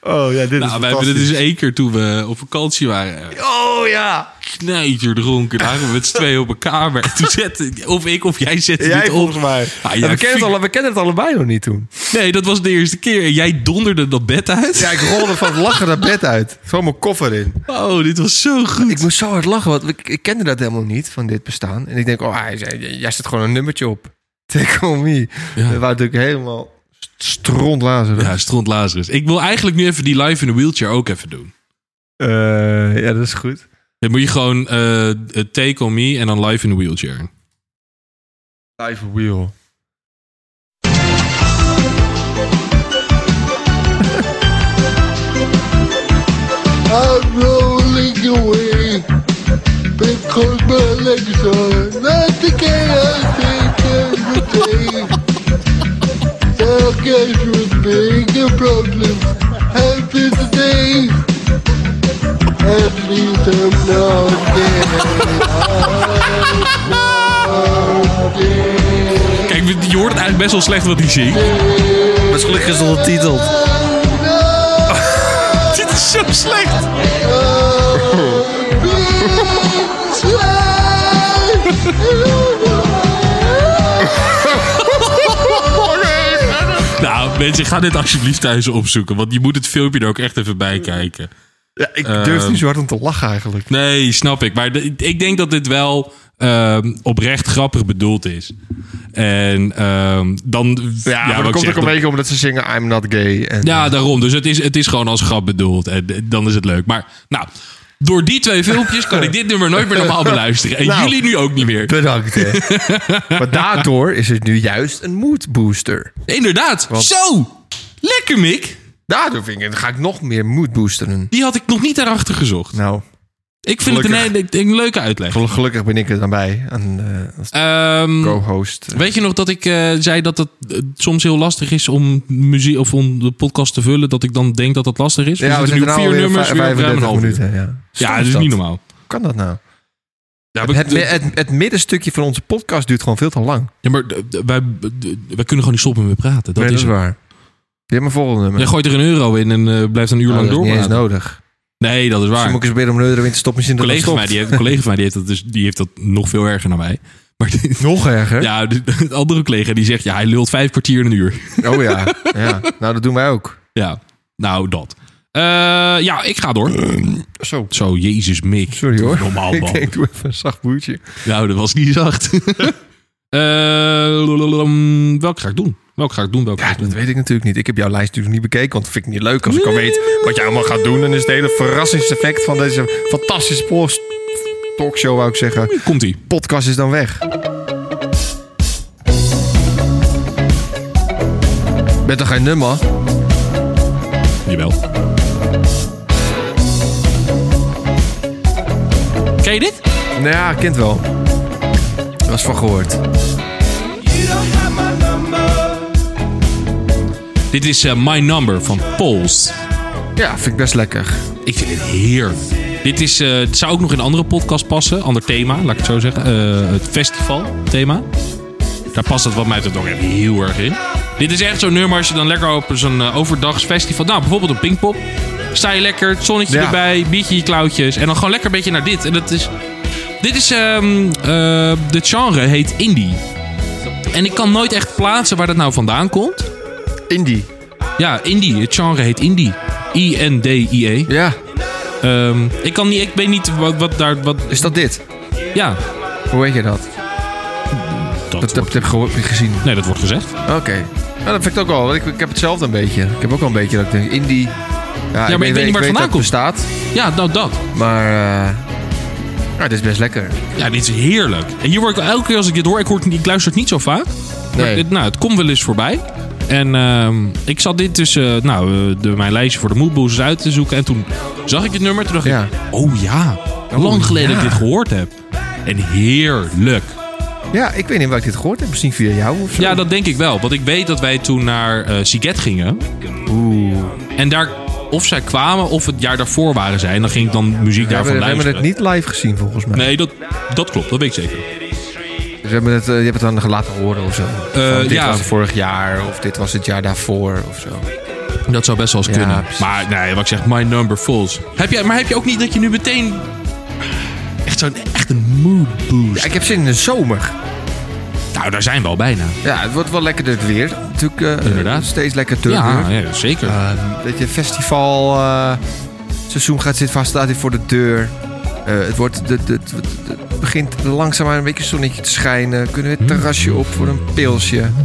Speaker 3: Oh ja, dit
Speaker 2: Nou, wij hebben dit dus één keer toen we op vakantie waren.
Speaker 3: Oh ja.
Speaker 2: knijter dronken. Daar waren we met z'n tweeën op een kamer. En toen zette, of ik of jij zette
Speaker 3: Jij
Speaker 2: dit op.
Speaker 3: volgens mij.
Speaker 2: Ah,
Speaker 3: we,
Speaker 2: ja,
Speaker 3: kennen het
Speaker 2: fik-
Speaker 3: alle- we kennen het allebei nog niet toen.
Speaker 2: Nee, dat was de eerste keer. En jij donderde dat bed uit.
Speaker 3: Ja, ik rolde van het lachen dat bed uit. Gewoon mijn koffer in.
Speaker 2: Oh, dit was zo goed.
Speaker 3: Ik moest zo hard lachen, want ik, ik kende dat helemaal niet van dit bestaan. En ik denk, oh, hij, zei, jij zet gewoon een nummertje op. (laughs) Take on me.
Speaker 2: Ja.
Speaker 3: We waren natuurlijk helemaal strontlazeren.
Speaker 2: Ja, stront Lazarus. Ik wil eigenlijk nu even die live in de wheelchair ook even doen.
Speaker 3: Eh, ja, dat is goed.
Speaker 2: Dan moet je gewoon eh, eh, take on me en dan live in the wheelchair.
Speaker 3: Live wheel.
Speaker 8: I'm rolling away because my legs are not the chaos they can retain. Sarcasm was being a problem happy today. At least I'm not dead. I'm not dead.
Speaker 2: Kijk, je hoort het eigenlijk best wel slecht wat hij zingt.
Speaker 3: Dat is gelukkig ondertiteld.
Speaker 2: (laughs) Dit is zo slecht. (laughs) Nou, mensen, ga dit alsjeblieft thuis opzoeken. Want je moet het filmpje er ook echt even bij kijken.
Speaker 3: Ja, ik
Speaker 2: Ehm,
Speaker 3: durf niet zo hard om te lachen eigenlijk.
Speaker 2: Nee, snap ik. Maar de- ik denk dat dit wel ehm, oprecht grappig bedoeld is. En ehm, dan...
Speaker 3: Ja, maar
Speaker 2: wat
Speaker 3: dat
Speaker 2: ik
Speaker 3: komt
Speaker 2: zeg,
Speaker 3: ook een beetje omdat ze zingen I'm not gay. En,
Speaker 2: Ja, daarom. Dus het is, het is gewoon als grap bedoeld. En eh, dan is het leuk. Maar nou, door die twee filmpjes kan ik dit nummer nooit meer normaal beluisteren. En
Speaker 3: Nou.
Speaker 2: jullie nu ook niet meer.
Speaker 3: Bedankt, hè.
Speaker 2: (laughs)
Speaker 3: maar daardoor is het nu juist een mood booster.
Speaker 2: Inderdaad. Zo! Lekker, Mick.
Speaker 3: Daardoor vind ik, het- ga ik nog meer mood boosteren.
Speaker 2: Die had ik nog niet daarachter gezocht.
Speaker 3: Nou,
Speaker 2: Ik vind het een,
Speaker 3: gelukkig.
Speaker 2: hele- een leuke uitleg.
Speaker 3: gelukkig ben ik er dan bij. Aan, eh, als
Speaker 2: Ehm,
Speaker 3: co-host.
Speaker 2: Weet je nog dat ik eh, zei dat het eh, soms heel lastig is om muziek of om de podcast te vullen? Dat ik dan denk dat dat lastig is.
Speaker 3: Ja, we
Speaker 2: zitten
Speaker 3: zitten nu
Speaker 2: op
Speaker 3: alweer
Speaker 2: vier nummers,
Speaker 3: vij-
Speaker 2: weer ruim een
Speaker 3: 35
Speaker 2: half uur.
Speaker 3: minuten. Ja,
Speaker 2: Ja,
Speaker 3: Stom
Speaker 2: dat is niet normaal.
Speaker 3: kan dat nou?
Speaker 2: Ja,
Speaker 3: Het,
Speaker 2: we-
Speaker 3: mi- het, het middenstukje van onze podcast duurt gewoon veel te lang.
Speaker 2: ja, maar d- d- wij, d- wij kunnen gewoon niet stoppen met praten. Dat
Speaker 3: Nee,
Speaker 2: is het.
Speaker 3: waar. Je hebt mijn volgende nummer.
Speaker 2: Je gooit er een euro in en eh, blijft een uur
Speaker 3: Nou,
Speaker 2: lang
Speaker 3: dat is
Speaker 2: door.
Speaker 3: niet eens nodig.
Speaker 2: Nee, dat is
Speaker 3: Dus
Speaker 2: waar.
Speaker 3: moet ik eens proberen om een euro in te stoppen.
Speaker 2: Een
Speaker 3: Misschien
Speaker 2: collega van mij, die
Speaker 3: die
Speaker 2: heeft, een collega van mij die heeft, dat dus, die heeft dat nog veel erger dan mij. Maar die-
Speaker 3: Nog erger?
Speaker 2: ja, (laughs) de, de andere collega die zegt, ja, hij lult vijf kwartier in een uur.
Speaker 3: Oh ja. ja. Nou, dat doen wij ook.
Speaker 2: Ja, nou dat. Eh, ja, ik ga door.
Speaker 3: (clears throat) Zo.
Speaker 2: Zo, jezus Mick.
Speaker 3: Sorry
Speaker 2: Doe
Speaker 3: hoor.
Speaker 2: Normaal
Speaker 3: (laughs) ik
Speaker 2: man.
Speaker 3: denk, doe even een zacht boertje.
Speaker 2: Nou, dat was niet zacht. (laughs) Eh, lululum, welke ga ik doen? Welke ga ik doen? Welke ga
Speaker 3: Ja,
Speaker 2: ik doen?
Speaker 3: dat weet ik natuurlijk niet. Ik heb jouw lijst natuurlijk niet bekeken, want dat vind ik niet leuk als ik al weet wat je allemaal gaat doen. En is het hele verrassingseffect van deze fantastische post talkshow, wou ik zeggen.
Speaker 2: Komt-ie.
Speaker 3: Podcast is dan weg. Met toch geen nummer?
Speaker 2: Jawel. Ken je dit?
Speaker 3: Nou ja, kind wel. Was van gehoord.
Speaker 2: Dit is eh, My Number van Pols.
Speaker 3: Ja, vind ik best lekker.
Speaker 2: Ik vind het heerlijk. Dit is, eh, het zou ook nog in een andere podcast passen. Ander thema, laat ik het zo zeggen. Eh, het festivalthema. Daar past het wat mij betreft ook echt heel erg in. Dit is echt zo'n nummer als je dan lekker op zo'n eh, overdagsfestival... Nou, bijvoorbeeld een Pinkpop. Sta je lekker, het zonnetje
Speaker 3: Ja.
Speaker 2: erbij, biertje in je klauwtjes. En dan gewoon lekker een beetje naar dit. En dat is... Dit is... ehm eh, dit genre heet indie. En ik kan nooit echt plaatsen waar dat nou vandaan komt.
Speaker 3: Indie.
Speaker 2: Ja, indie. Het genre heet indie. I-N-D-I-E.
Speaker 3: Ja,
Speaker 2: Ehm, ik kan niet, ik weet niet wat, wat daar, wat,
Speaker 3: is dat dit?
Speaker 2: ja.
Speaker 3: Hoe weet je dat?
Speaker 2: Dat,
Speaker 3: Dat heb ik gehoord- gezien.
Speaker 2: nee, dat wordt gezegd.
Speaker 3: Oké. Nou, dat vind ik ook al. want Ik, ik heb hetzelfde een beetje. Ik heb ook al een beetje dat ik denk, indie... Ja,
Speaker 2: ik weet niet waar het vandaan
Speaker 3: dat
Speaker 2: komt.
Speaker 3: bestaat,
Speaker 2: Ja, nou dat.
Speaker 3: maar... eh ja, dit is best lekker.
Speaker 2: Ja, dit is heerlijk. En hier word ik elke keer als ik dit hoor, ik, hoor, het niet- ik luister het niet zo vaak. Maar
Speaker 3: Nee.
Speaker 2: dit- nou, het komt wel eens voorbij. En ehm, ik zat dit dus, eh, nou, eh, de, mijn lijstje voor de moodboosters uit te zoeken. En toen zag ik dit nummer, toen dacht
Speaker 3: Ja.
Speaker 2: ik, oh ja, lang geleden dat ik dit gehoord heb. En heerlijk.
Speaker 3: Ja, ik weet niet waar ik dit gehoord heb. Misschien via jou of zo.
Speaker 2: Ja, dat denk ik wel. Want ik weet dat wij toen naar eh Siget gingen. En daar, of zij kwamen of het jaar daarvoor waren zij. En dan ging ik dan muziek
Speaker 3: we
Speaker 2: daarvan
Speaker 3: hebben, we hebben
Speaker 2: luisteren.
Speaker 3: het niet live gezien volgens mij.
Speaker 2: Nee, dat, dat klopt. Dat weet ik zeker.
Speaker 3: Dus we hebben het, eh, je hebt het aan de laten horen of zo. Van, dit
Speaker 2: Eh, ja.
Speaker 3: was vorig jaar of dit was het jaar daarvoor of zo.
Speaker 2: Dat zou best wel eens
Speaker 3: Ja,
Speaker 2: kunnen.
Speaker 3: precies.
Speaker 2: Maar nee, wat ik zeg, my number falls. Heb jij, maar heb je ook niet dat je nu meteen... Echt zo'n echt een mood boost.
Speaker 3: Ja, ik heb zin in de zomer.
Speaker 2: nou, daar zijn we al bijna.
Speaker 3: Ja, het wordt wel lekker het weer. Natuurlijk eh,
Speaker 2: Inderdaad.
Speaker 3: steeds lekker terug.
Speaker 2: Ja, ja, zeker.
Speaker 3: Eh, dat je festival eh, seizoen gaat zitten vast, staat hier voor de deur. Eh, het, wordt, het, het, het, het begint langzaamaan een beetje zonnetje te schijnen. Kunnen we het terrasje op voor een pilsje. (laughs)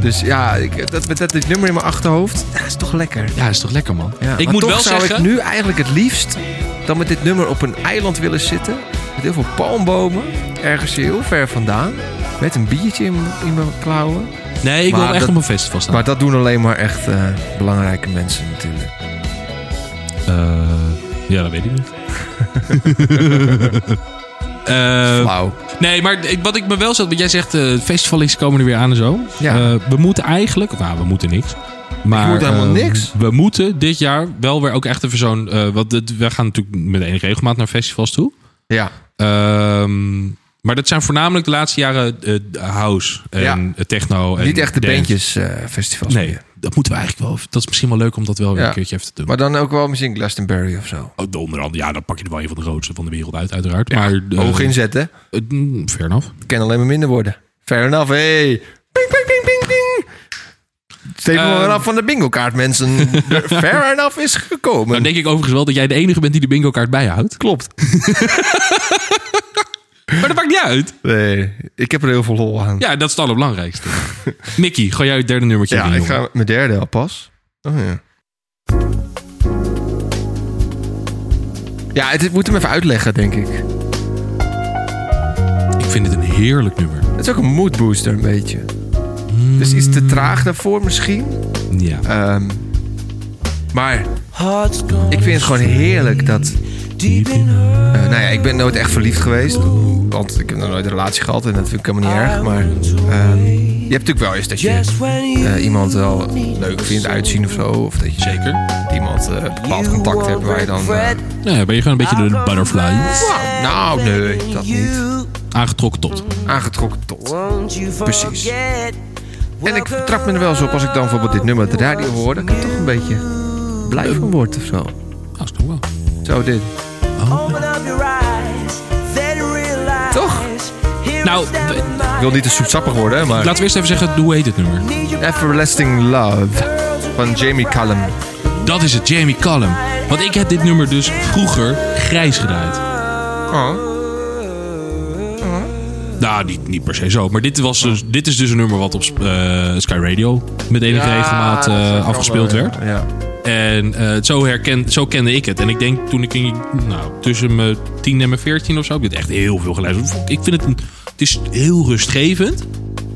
Speaker 3: dus ja, ik, dat, met dat, dit nummer in mijn achterhoofd, dat is toch lekker.
Speaker 2: ja, is toch lekker, man.
Speaker 3: Ja,
Speaker 2: ik
Speaker 3: maar
Speaker 2: moet
Speaker 3: toch
Speaker 2: wel
Speaker 3: zou
Speaker 2: zeggen...
Speaker 3: ik nu eigenlijk het liefst dan met dit nummer op een eiland willen zitten. Met heel veel palmbomen, ergens heel ver vandaan. Met een biertje in, mijn- in mijn klauwen.
Speaker 2: Nee, ik
Speaker 3: Maar
Speaker 2: wil echt
Speaker 3: dat-
Speaker 2: op een festival staan.
Speaker 3: Maar dat doen alleen maar echt eh, belangrijke mensen natuurlijk.
Speaker 2: Eh, ja, dat weet ik
Speaker 3: (laughs)
Speaker 2: niet. Eh,
Speaker 3: Flauw.
Speaker 2: nee, maar ik- wat ik me wel zat, want jij zegt eh, het festival is komen er weer aan en zo.
Speaker 3: Ja.
Speaker 2: Eh, we moeten eigenlijk, nou, we moeten niks. Maar,
Speaker 3: moet helemaal
Speaker 2: eh,
Speaker 3: niks.
Speaker 2: We moeten dit jaar wel weer ook echt even zo'n. eh, want het, we gaan natuurlijk met enige regelmaat naar festivals toe.
Speaker 3: Ja.
Speaker 2: Ehm, maar dat zijn voornamelijk de laatste jaren eh, house en
Speaker 3: Ja.
Speaker 2: techno. En
Speaker 3: Niet echt de eh,
Speaker 2: dance.
Speaker 3: bandjesfestivals.
Speaker 2: Nee, dat moeten we eigenlijk wel. Dat is misschien wel leuk om dat wel weer
Speaker 3: Ja.
Speaker 2: een keertje even te doen.
Speaker 3: Maar dan ook wel misschien Glastonbury of zo.
Speaker 2: Oh, de onder andere, ja, dan pak je er wel een van de grootste van de wereld uit, uiteraard. maar, eh,
Speaker 3: Hoog inzetten.
Speaker 2: eh, mm, fair enough.
Speaker 3: Het kan alleen maar minder worden. Fair enough, hey. Ping, ping, ping, ping, ping. Steven
Speaker 2: Ehm.
Speaker 3: we af van de bingo kaart,
Speaker 2: (laughs)
Speaker 3: mensen. Fair enough is gekomen.
Speaker 2: Dan denk ik overigens wel dat jij de enige bent die de bingo kaart bijhoudt.
Speaker 3: Klopt.
Speaker 2: (laughs) Maar dat maakt niet uit.
Speaker 3: Nee, ik heb er heel veel lol aan.
Speaker 2: Ja, dat is het allerbelangrijkste. Mickey, gooi jij het derde nummertje
Speaker 3: Ja,
Speaker 2: in,
Speaker 3: ik
Speaker 2: jongen.
Speaker 3: ga mijn derde al pas. Oh, ja. Ja, het, ik moet hem even uitleggen, denk ik.
Speaker 2: Ik vind het een heerlijk nummer.
Speaker 3: Het is ook een mood booster, een beetje. Dus iets
Speaker 2: Hmm.
Speaker 3: te traag daarvoor misschien.
Speaker 2: Ja.
Speaker 3: Ehm, maar ik vind het gewoon heerlijk dat eh, nou ja, ik ben nooit echt verliefd geweest. Want ik heb nog nooit een relatie gehad en dat vind ik helemaal niet erg. Maar ehm, je hebt natuurlijk wel eens dat je eh, iemand wel leuk vindt uitzien of zo. Of dat je
Speaker 2: Zeker.
Speaker 3: met iemand eh, een bepaald contact hebt waar je dan... eh,
Speaker 2: Nou Ja, ben je gewoon een beetje de butterfly
Speaker 3: nou, nee, dat niet.
Speaker 2: aangetrokken tot.
Speaker 3: Aangetrokken tot. Precies. En ik trap me er wel eens op als ik dan bijvoorbeeld dit nummer op de radio hoor. Dat ik er toch een beetje blij van word of zo.
Speaker 2: Nou, dat kan wel.
Speaker 3: Zo dit. Toch?
Speaker 2: Nou, d-
Speaker 3: Ik wil niet te zoetsappig worden, hè, maar...
Speaker 2: laten we eerst even zeggen, hoe heet dit nummer?
Speaker 3: Everlasting Love van Jamie Cullum.
Speaker 2: Dat is het, Jamie Cullum. Want ik heb dit nummer dus vroeger grijs gedraaid.
Speaker 3: Oh.
Speaker 2: Nou, niet, niet per se zo. Maar dit, was dus, dit is dus een nummer wat op eh, Sky Radio met enige regelmaat eh, afgespeeld werd.
Speaker 3: Ja.
Speaker 2: En eh, het zo, herkend, zo kende ik het. En ik denk toen ik in, nou, tussen mijn 10 en mijn 14 of zo, heb ik dit echt heel veel geluisterd. Ik vind het, een, het is heel rustgevend.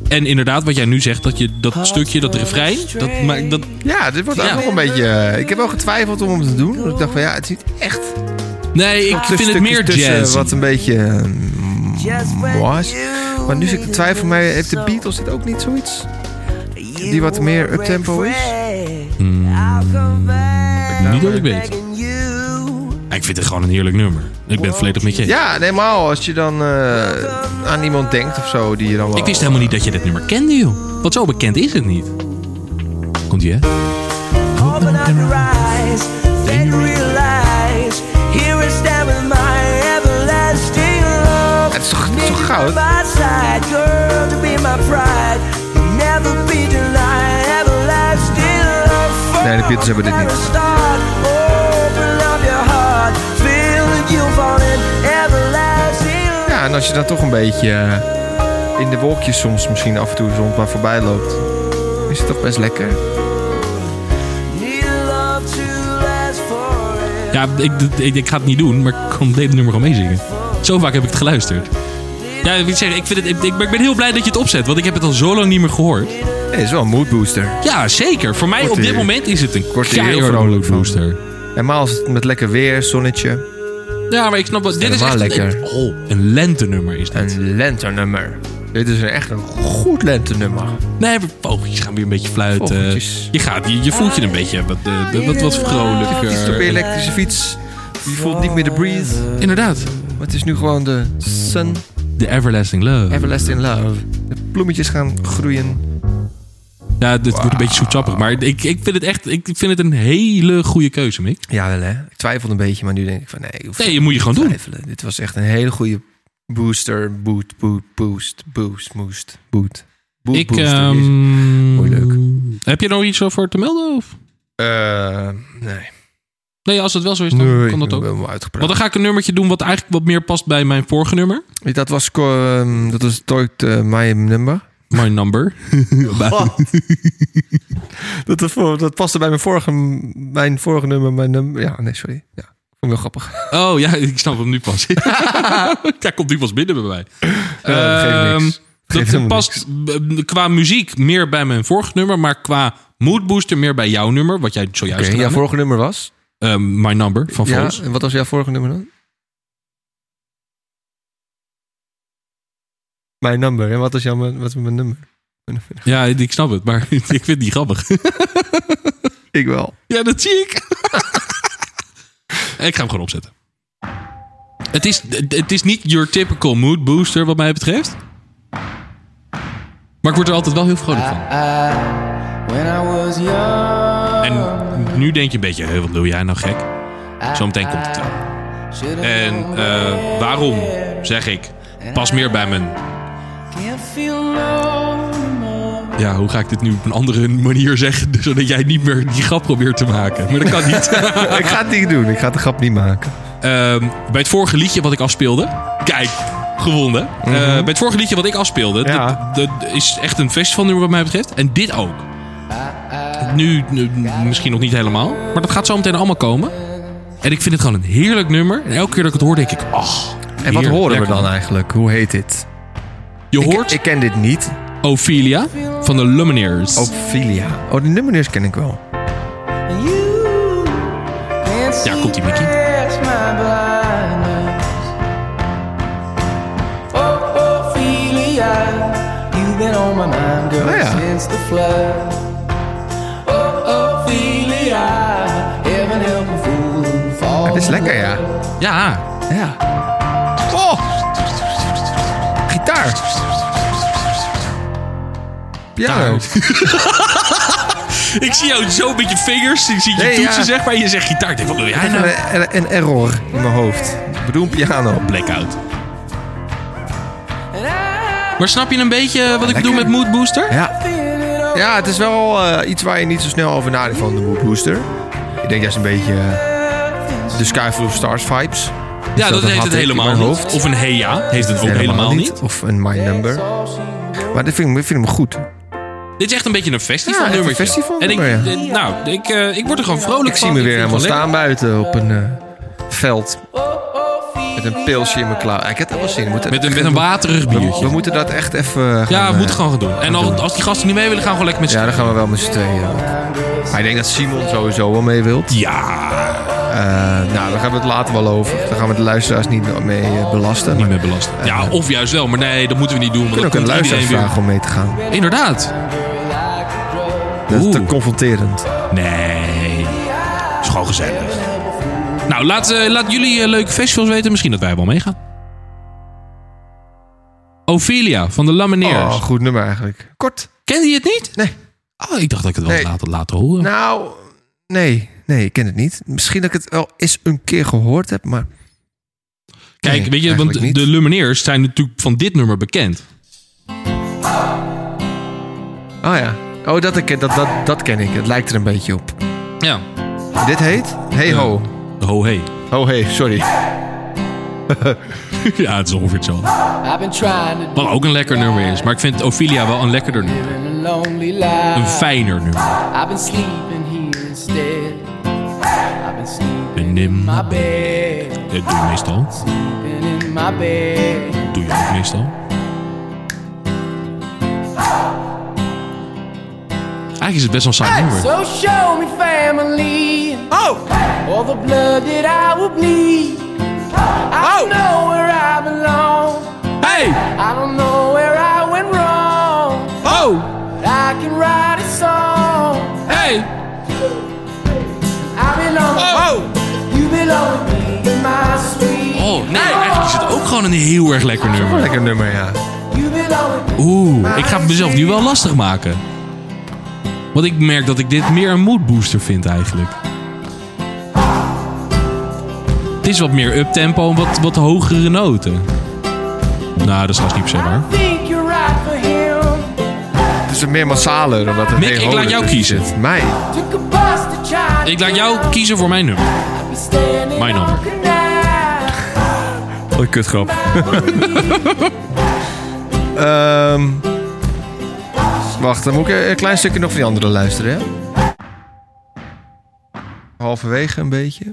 Speaker 2: En inderdaad, wat jij nu zegt, dat, je, dat stukje, dat refrein, dat, maakt- dat,
Speaker 3: ja, dit wordt
Speaker 2: Ja.
Speaker 3: ook nog een beetje... eh, Ik heb wel getwijfeld om hem te doen. want ik dacht van ja, het is niet echt...
Speaker 2: Nee, ik
Speaker 3: Er
Speaker 2: vind het
Speaker 3: stukjes
Speaker 2: meer
Speaker 3: tussen
Speaker 2: jazz.
Speaker 3: Wat een beetje... eh, was. Maar nu zit ik te twijfelen, maar heeft de Beatles dit ook niet zoiets? Die wat meer uptempo is? Hmm.
Speaker 2: Niet dat ik weet. Ja, ik vind het gewoon een heerlijk nummer. Ik ben het volledig met je. eens.
Speaker 3: Ja, helemaal. Als je dan eh, aan iemand denkt of zo, die je dan wel...
Speaker 2: Ik wist helemaal niet dat je dit nummer kende, joh. Want zo bekend is het niet. Komt ie, hè?
Speaker 3: Het is toch, het is toch goud?
Speaker 1: Nee, de Beatles hebben dit niet.
Speaker 3: Ja, en als je dan toch een beetje eh, in de wolkjes soms misschien af en toe soms maar voorbij loopt, is het toch best lekker.
Speaker 2: Ja, ik, ik, ik ga het niet doen, maar ik kon dit nummer gewoon meezingen. Zo vaak heb ik het geluisterd. Ja, ik moet zeggen, ik, vind het, ik, ik- maar ik ben heel blij dat je het opzet, want ik heb het al zo lang niet meer gehoord.
Speaker 3: Nee, het is wel een mood booster.
Speaker 2: Ja, zeker. Voor mij
Speaker 3: Wordt
Speaker 2: op dit
Speaker 3: hier-
Speaker 2: moment is het een
Speaker 3: wordt hier heel
Speaker 2: keiharde
Speaker 3: vrolijk van.
Speaker 2: booster.
Speaker 3: Normaal is het met lekker weer, zonnetje.
Speaker 2: Ja, maar ik snap wat. Dit is echt
Speaker 3: helemaal
Speaker 2: een,
Speaker 3: lekker. Mm.
Speaker 2: oh, een lentenummer is dit.
Speaker 3: Een lenternummer. Dit is een echt een goed lenternummer.
Speaker 2: Nee, maar vogeltjes gaan weer een beetje fluiten.
Speaker 3: Vogeltjes.
Speaker 2: Je, gaat, je, je voelt je een beetje wat, eh, wat, wat
Speaker 3: Op je
Speaker 2: vrolijker.
Speaker 3: elektrische fiets. Je voelt niet meer de breeze.
Speaker 2: Inderdaad.
Speaker 3: Maar het is nu gewoon de sun,
Speaker 2: The Everlasting Love.
Speaker 3: everlasting love. De bloemetjes gaan groeien.
Speaker 2: ja, dit wordt een beetje zoetsappig. Maar ik, ik vind het echt ik vind het een hele goede keuze, Mick.
Speaker 3: Ja, wel hè. Ik twijfelde een beetje, maar nu denk ik van nee. ik hoef
Speaker 2: Nee,
Speaker 3: niet
Speaker 2: je moet je
Speaker 3: te
Speaker 2: gewoon doen.
Speaker 3: twijfelen. Dit was echt een hele goede booster. Boot, boot, boost, boost, boost, boot. Boot
Speaker 2: Ik,
Speaker 3: booster.
Speaker 2: ehm,
Speaker 3: Mooi leuk.
Speaker 2: Heb je nou iets over te melden? Of?
Speaker 3: Eh, nee.
Speaker 2: Nee, als dat wel zo is, dan kan dat ook. Want dan ga ik een nummertje doen wat eigenlijk wat meer past bij mijn vorige nummer.
Speaker 3: Dat was, ko- ehm, dat was Toit eh, My Number.
Speaker 2: My
Speaker 3: (laughs)
Speaker 2: Number.
Speaker 3: Dat, was voor- dat paste bij mijn vorige, mijn vorige nummer. Mijn nummer. Ja, nee, sorry. Ja, ik vond het wel (laughs) grappig.
Speaker 2: Oh ja, ik snap hem nu pas. (laughs) Daar komt nu pas binnen bij mij.
Speaker 3: dat geeft
Speaker 2: Ehm,
Speaker 3: niks. Geeft
Speaker 2: dat
Speaker 3: helemaal
Speaker 2: past b- qua muziek meer bij mijn vorige nummer, maar qua moodbooster meer bij jouw nummer, wat jij zojuist
Speaker 3: Oké,
Speaker 2: gedaan
Speaker 3: jouw
Speaker 2: hebt.
Speaker 3: vorige nummer was?
Speaker 2: Ehm, My Number van
Speaker 3: ja,
Speaker 2: Vols.
Speaker 3: en wat was jouw vorige nummer dan? Mijn nummer. En wat was jouw wat was mijn nummer?
Speaker 2: Ja, ik snap het, maar (laughs) ik vind het niet grappig.
Speaker 3: Ik wel.
Speaker 2: ja, dat zie ik. (laughs) ik ga hem gewoon opzetten. Het is, het is niet your typical mood booster wat mij betreft. Maar ik word er altijd wel heel vrolijk van. En nu denk je een beetje, hé, wat doe jij nou gek? Zometeen komt het wel. En eh, waarom zeg ik, pas meer bij mijn... Ja, hoe ga ik dit nu op een andere manier zeggen, (laughs) zodat jij niet meer die grap probeert te maken? Maar dat kan niet.
Speaker 3: (laughs) ik ga het niet doen. Ik ga de grap niet maken.
Speaker 2: Ehm, bij het vorige liedje wat ik afspeelde. Kijk, gewonnen. Eh, bij het vorige liedje wat ik afspeelde.
Speaker 3: Mhm. Ja.
Speaker 2: Dat, dat is echt een festivalnummer wat mij betreft. En dit ook. Nu, nu misschien nog niet helemaal. Maar dat gaat zo meteen allemaal komen. En ik vind het gewoon een heerlijk nummer. En elke keer dat ik het hoor, denk ik, "Ah, ach.
Speaker 3: En wat horen we dan eigenlijk? Hoe heet dit?
Speaker 2: Je
Speaker 3: Ik,
Speaker 2: hoort
Speaker 3: ik ken dit niet.
Speaker 2: Ophelia van de Lumineers.
Speaker 3: Ophelia. Oh, die nummers ken ik wel.
Speaker 2: Ja, komt die Mickey.
Speaker 4: home and I'm gonna
Speaker 3: Oh, ja.
Speaker 4: sense the flood. Oh, Ophelia, heaven help a fool who falls
Speaker 3: Het is
Speaker 4: in
Speaker 3: lekker, ja.
Speaker 2: Ja,
Speaker 3: Ja. Oh! Gitaar.
Speaker 2: Nou,
Speaker 3: Piano.
Speaker 2: ik zie jou zo een beetje vingers. Ik zie je
Speaker 3: Nee,
Speaker 2: toetsen,
Speaker 3: ja.
Speaker 2: zeg maar. En je zegt gitaar. Ik denk, wat wil jij
Speaker 3: Even
Speaker 2: nou?
Speaker 3: een, een- een error in mijn hoofd. Ik bedoel een piano.
Speaker 2: Blackout. Maar snap je een beetje wat ik bedoel met Mood Booster?
Speaker 3: Ja. Ja, het is wel eh, iets waar je niet zo snel over nadenkt van de Mood Booster. Ik denk juist een beetje eh, de Skyful of Stars vibes.
Speaker 2: Ja, dat,
Speaker 3: dat
Speaker 2: heeft
Speaker 3: had
Speaker 2: het
Speaker 3: ik in
Speaker 2: helemaal
Speaker 3: mijn
Speaker 2: niet.
Speaker 3: hoofd.
Speaker 2: Of een Heja heeft het ook helemaal niet.
Speaker 3: Of een My Number. Maar dat vind ik, vind ik me goed.
Speaker 2: Dit is echt een beetje een festival
Speaker 3: Ja, echt een
Speaker 2: En ik,
Speaker 3: festivalnummer,
Speaker 2: eh, nou, ik, eh, ik word er gewoon vrolijk
Speaker 3: Ik
Speaker 2: van.
Speaker 3: zie me weer
Speaker 2: vind
Speaker 3: helemaal
Speaker 2: het wel
Speaker 3: staan buiten op een eh, veld. Met een pilsje in mijn klauw. Ik heb er wel zin in. We moeten-
Speaker 2: lekker. Met een, met een waterig
Speaker 3: we, we
Speaker 2: biertje.
Speaker 3: moeten dat echt even... eh,
Speaker 2: Ja,
Speaker 3: gaan,
Speaker 2: we
Speaker 3: eh,
Speaker 2: moeten gewoon gaan doen. En al- als die gasten niet mee willen, gaan we gewoon lekker met z'n
Speaker 3: Ja, dan gaan we wel met z'n tweeën. Maar ik denk dat Simon sowieso wel mee wilt.
Speaker 2: Ja,
Speaker 3: Eh, nou, daar gaan we het later wel over. Daar gaan we de luisteraars niet mee eh, belasten.
Speaker 2: niet
Speaker 3: Maar
Speaker 2: meer belasten. Ja, of juist wel. Maar nee, dat moeten we niet doen.
Speaker 3: we
Speaker 2: Want
Speaker 3: kunnen
Speaker 2: dan
Speaker 3: ook een
Speaker 2: komt
Speaker 3: luisteraar
Speaker 2: iedereen weer...
Speaker 3: vragen om mee te gaan.
Speaker 2: Inderdaad.
Speaker 3: Dat is te
Speaker 2: Oeh.
Speaker 3: confronterend.
Speaker 2: Nee. Is gewoon gezellig. Nou, laat, eh, laat jullie eh, leuke festivals weten. Misschien dat wij wel meegaan. Ophelia van de
Speaker 3: Oh,
Speaker 2: Lamineers.
Speaker 3: goed nummer eigenlijk. Kort.
Speaker 2: Kende je het niet?
Speaker 3: Nee.
Speaker 2: Oh, ik dacht dat ik het wel
Speaker 3: Nee.
Speaker 2: later laten horen.
Speaker 3: (laughs) Nou, nee. Nee, ik ken het niet. Misschien dat ik het wel eens een keer gehoord heb, maar...
Speaker 2: Kijk,
Speaker 3: Nee,
Speaker 2: weet je, want
Speaker 3: eigenlijk niet.
Speaker 2: de Lumineers zijn natuurlijk van dit nummer bekend.
Speaker 3: Oh ja. Oh, dat, ik, dat, dat, dat ken ik. Het lijkt er een beetje op.
Speaker 2: Ja.
Speaker 3: Dit heet? Hey ho.
Speaker 2: Ho hey.
Speaker 3: Oh hey, sorry.
Speaker 2: ja, het is ongeveer hetzelfde.
Speaker 9: I've been trying to
Speaker 2: Wat ook een lekker nummer is. Maar ik vind Ophelia wel een lekkerder nummer.
Speaker 9: live in a lonely
Speaker 2: Een
Speaker 9: life.
Speaker 2: fijner nummer.
Speaker 9: I've been sleeping here instead. I've been sleeping
Speaker 2: En in
Speaker 9: in my
Speaker 2: mijn bed.
Speaker 9: bed,
Speaker 2: Dat doe je meestal.
Speaker 9: sleeping in my bed.
Speaker 2: doe je ook meestal. Eigenlijk is het best wel een saai nummer.
Speaker 9: So show me family. Oh! All the blood that I will bleed. I
Speaker 2: Oh.
Speaker 9: don't know where I belong.
Speaker 2: Hey!
Speaker 9: I don't know where I went wrong.
Speaker 2: Oh!
Speaker 9: But I can write a song.
Speaker 2: Hey!
Speaker 9: I belong. You belong with me in my street.
Speaker 2: Oh, nee, eigenlijk is het ook gewoon een heel erg lekker nummer.
Speaker 3: Lekker nummer, ja.
Speaker 9: You belong with me.
Speaker 2: Oeh, ik ga het mezelf nu wel lastig maken. Want ik merk dat ik dit meer een mood booster vind eigenlijk. Het is wat meer uptempo en wat, wat hogere noten. Nou, dat is vast niet per se waar.
Speaker 9: I think you're right for him.
Speaker 3: Het is een meer massale dan dat het
Speaker 2: Mick,
Speaker 3: Hey
Speaker 2: ik
Speaker 3: Ho
Speaker 2: laat jou
Speaker 3: ertussen
Speaker 2: kiezen.
Speaker 3: zit. Mij?
Speaker 9: Took a bus to China.
Speaker 2: Ik laat jou kiezen voor mijn nummer.
Speaker 9: Be standing
Speaker 2: Mijn
Speaker 9: on
Speaker 2: nummer.
Speaker 9: canal.
Speaker 2: Wat een kutgrap.
Speaker 3: Ehm, wacht, dan moet ik een klein stukje nog van die andere luisteren, hè? Halverwege een beetje.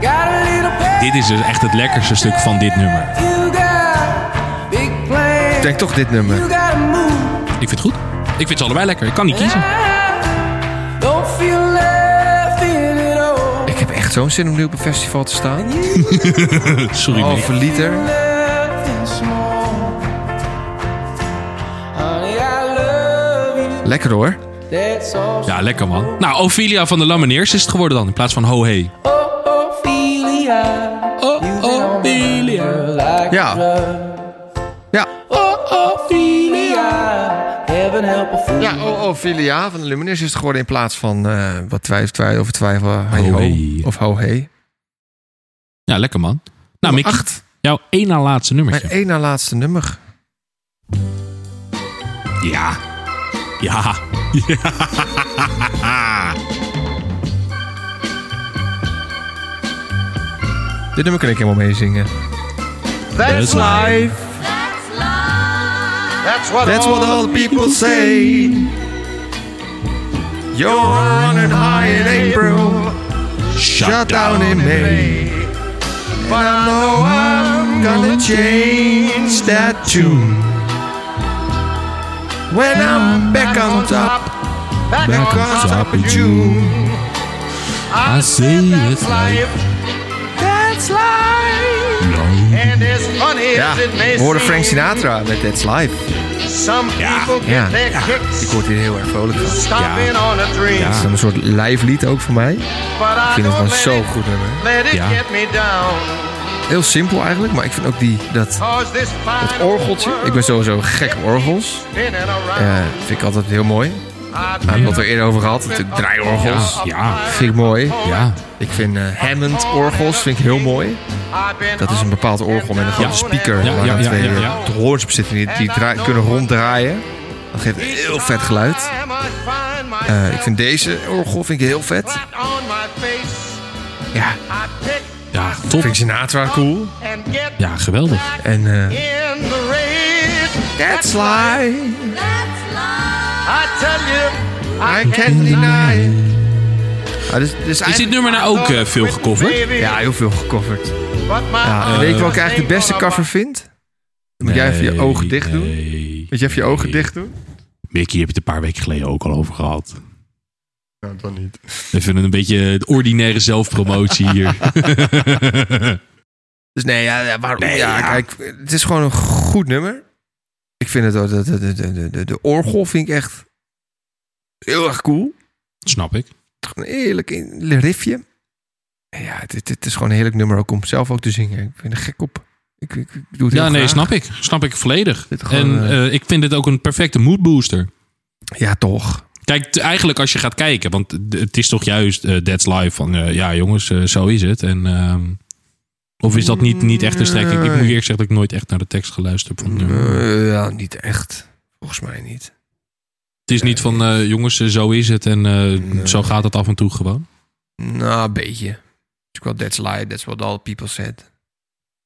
Speaker 9: Got a little bit
Speaker 2: Dit is dus echt het lekkerste stuk van dit nummer.
Speaker 9: you got. Big
Speaker 3: Ik
Speaker 9: plans.
Speaker 3: denk toch dit nummer.
Speaker 9: You gotta move.
Speaker 2: Ik vind het goed. Ik vind ze allebei lekker. Ik kan niet kiezen.
Speaker 9: I don't feel nothing at all.
Speaker 3: Ik heb echt zo'n zin om nu op een festival te staan.
Speaker 2: (laughs) Sorry, meneer.
Speaker 3: Halve liter.
Speaker 9: Nothing small. Honey, I love you.
Speaker 3: Lekker hoor.
Speaker 9: That's all.
Speaker 2: Ja, lekker man. Nou, Ophelia van de Lamineers is het geworden dan. In plaats van Ho Hey.
Speaker 9: Oh, Ophelia.
Speaker 2: Oh,
Speaker 9: You've been on my
Speaker 2: Ophelia.
Speaker 9: girl like a
Speaker 3: Ja.
Speaker 9: drug.
Speaker 3: Ja.
Speaker 9: Oh, Ophelia, heaven help a fool.
Speaker 3: Ja, oh, oh, Filia van de Lumineers is het geworden in plaats van eh, wat twijfel, twijfel over twijfel. Hey
Speaker 2: Ho,
Speaker 3: ho.
Speaker 2: hey.
Speaker 3: Of ho hey.
Speaker 2: Ja, lekker man. Nou, Mick,
Speaker 3: Acht.
Speaker 2: jouw één na laatste
Speaker 3: Mijn
Speaker 2: nummertje.
Speaker 3: één na laatste nummer.
Speaker 2: Ja. Ja.
Speaker 3: Dit nummer kan ik helemaal meezingen.
Speaker 2: That's life.
Speaker 4: That's what
Speaker 3: That's what all the people say. You're on and high in April. Shut down in May. But I know I'm gonna change that tune. When I'm back on top, back on top of June.
Speaker 2: I see it's life.
Speaker 3: That's life.
Speaker 2: Long
Speaker 10: And as funny
Speaker 3: Ja,
Speaker 10: as it may
Speaker 3: we hoorden
Speaker 10: seem,
Speaker 3: Frank Sinatra met That's Life.
Speaker 10: some people get
Speaker 3: Ja,
Speaker 10: their kicks
Speaker 3: ik word hier heel erg vrolijk van.
Speaker 10: stomping on a dream.
Speaker 3: Ja. Het is dan een soort live lied ook voor mij.
Speaker 10: But
Speaker 3: Ik
Speaker 10: I
Speaker 3: vind het
Speaker 10: don't
Speaker 3: gewoon
Speaker 10: let
Speaker 3: zo'n
Speaker 10: it-
Speaker 3: goed nummer.
Speaker 10: Let it
Speaker 3: Ja.
Speaker 10: get me down.
Speaker 3: Heel simpel eigenlijk, maar ik vind ook die, dat,
Speaker 10: Cause this fine
Speaker 3: dat orgeltje. Ik ben sowieso gek op orgels.
Speaker 10: spinning around.
Speaker 3: Ja, vind ik altijd heel mooi. We hebben het er eerder over gehad. De draaiorgels.
Speaker 2: Ja.
Speaker 3: Vind ik mooi.
Speaker 2: Ja.
Speaker 3: Ik vind eh, Hammond-orgels vind ik heel mooi. Dat is een bepaald orgel met een grote
Speaker 2: Ja.
Speaker 3: speaker.
Speaker 2: Ja,
Speaker 3: waar
Speaker 2: ja,
Speaker 3: dan
Speaker 2: ja,
Speaker 3: twee
Speaker 2: ja, ja.
Speaker 3: eh, de hoorns op zitten die, die draai- kunnen ronddraaien. Dat geeft een heel vet geluid. Eh, ik vind deze orgel vind ik heel vet.
Speaker 10: On my face,
Speaker 3: Ja,
Speaker 10: I pick
Speaker 2: Ja,
Speaker 3: ik
Speaker 2: top.
Speaker 3: vind Sinatra cool.
Speaker 10: and get
Speaker 2: Ja, geweldig.
Speaker 3: En eh,
Speaker 10: in the race.
Speaker 3: That's life,
Speaker 10: I tell you,
Speaker 3: I can deny. Ah, dus, dus
Speaker 2: Is dit
Speaker 3: eigenlijk-
Speaker 2: nummer nou ook eh, veel gecoverd?
Speaker 10: baby,
Speaker 3: Ja, heel veel gecoverd.
Speaker 10: but my
Speaker 3: Ja,
Speaker 2: Ah,
Speaker 3: en
Speaker 10: eyes
Speaker 3: weet je welke eigenlijk de
Speaker 10: ain't
Speaker 3: beste
Speaker 10: gonna
Speaker 3: cover vind? Dan moet jij even je
Speaker 2: Nee,
Speaker 3: ogen dicht doen.
Speaker 2: nee,
Speaker 3: Moet je even je ogen
Speaker 2: nee.
Speaker 3: dicht doen?
Speaker 2: Mickey, heb je het een paar weken geleden ook al over gehad.
Speaker 3: Nou, dan niet.
Speaker 2: Even een beetje de ordinaire zelfpromotie hier.
Speaker 3: Dus nee, ja, ja, waarom?
Speaker 2: Nee,
Speaker 3: ja,
Speaker 2: ja.
Speaker 3: kijk, het is gewoon een goed nummer. Ik vind het, ook- de, de, de, de, de, de orgel vind ik echt heel erg cool.
Speaker 2: (laughs) Snap ik.
Speaker 3: Een heerlijk in- riffje. En Ja, het, het, het is gewoon een heerlijk nummer ook om zelf ook te zingen. Ik ben er gek op. Ik, ik, ik doe het
Speaker 2: Ja,
Speaker 3: heel
Speaker 2: nee,
Speaker 3: graag.
Speaker 2: snap ik. Snap ik volledig.
Speaker 3: Dit
Speaker 2: en
Speaker 3: gewoon, eh,
Speaker 2: eh, ik vind dit ook een perfecte moodbooster.
Speaker 3: Ja, toch.
Speaker 2: Kijk, t- eigenlijk als je gaat kijken, want d- het is toch juist eh That's Life van eh, ja, jongens, eh, zo is het. En, ehm, of is dat niet, niet echt een strekking? Ik moet
Speaker 3: Nee.
Speaker 2: eerlijk zeggen dat ik nooit echt naar de tekst geluisterd heb. Van, het nummer.
Speaker 3: Eh, ja, niet echt. Volgens mij niet.
Speaker 2: het is niet van eh, jongens, eh, zo is het en eh,
Speaker 3: Nee.
Speaker 2: zo gaat het af en toe gewoon.
Speaker 3: Nou, een beetje. Het is wel That's Life, That's What All People Said.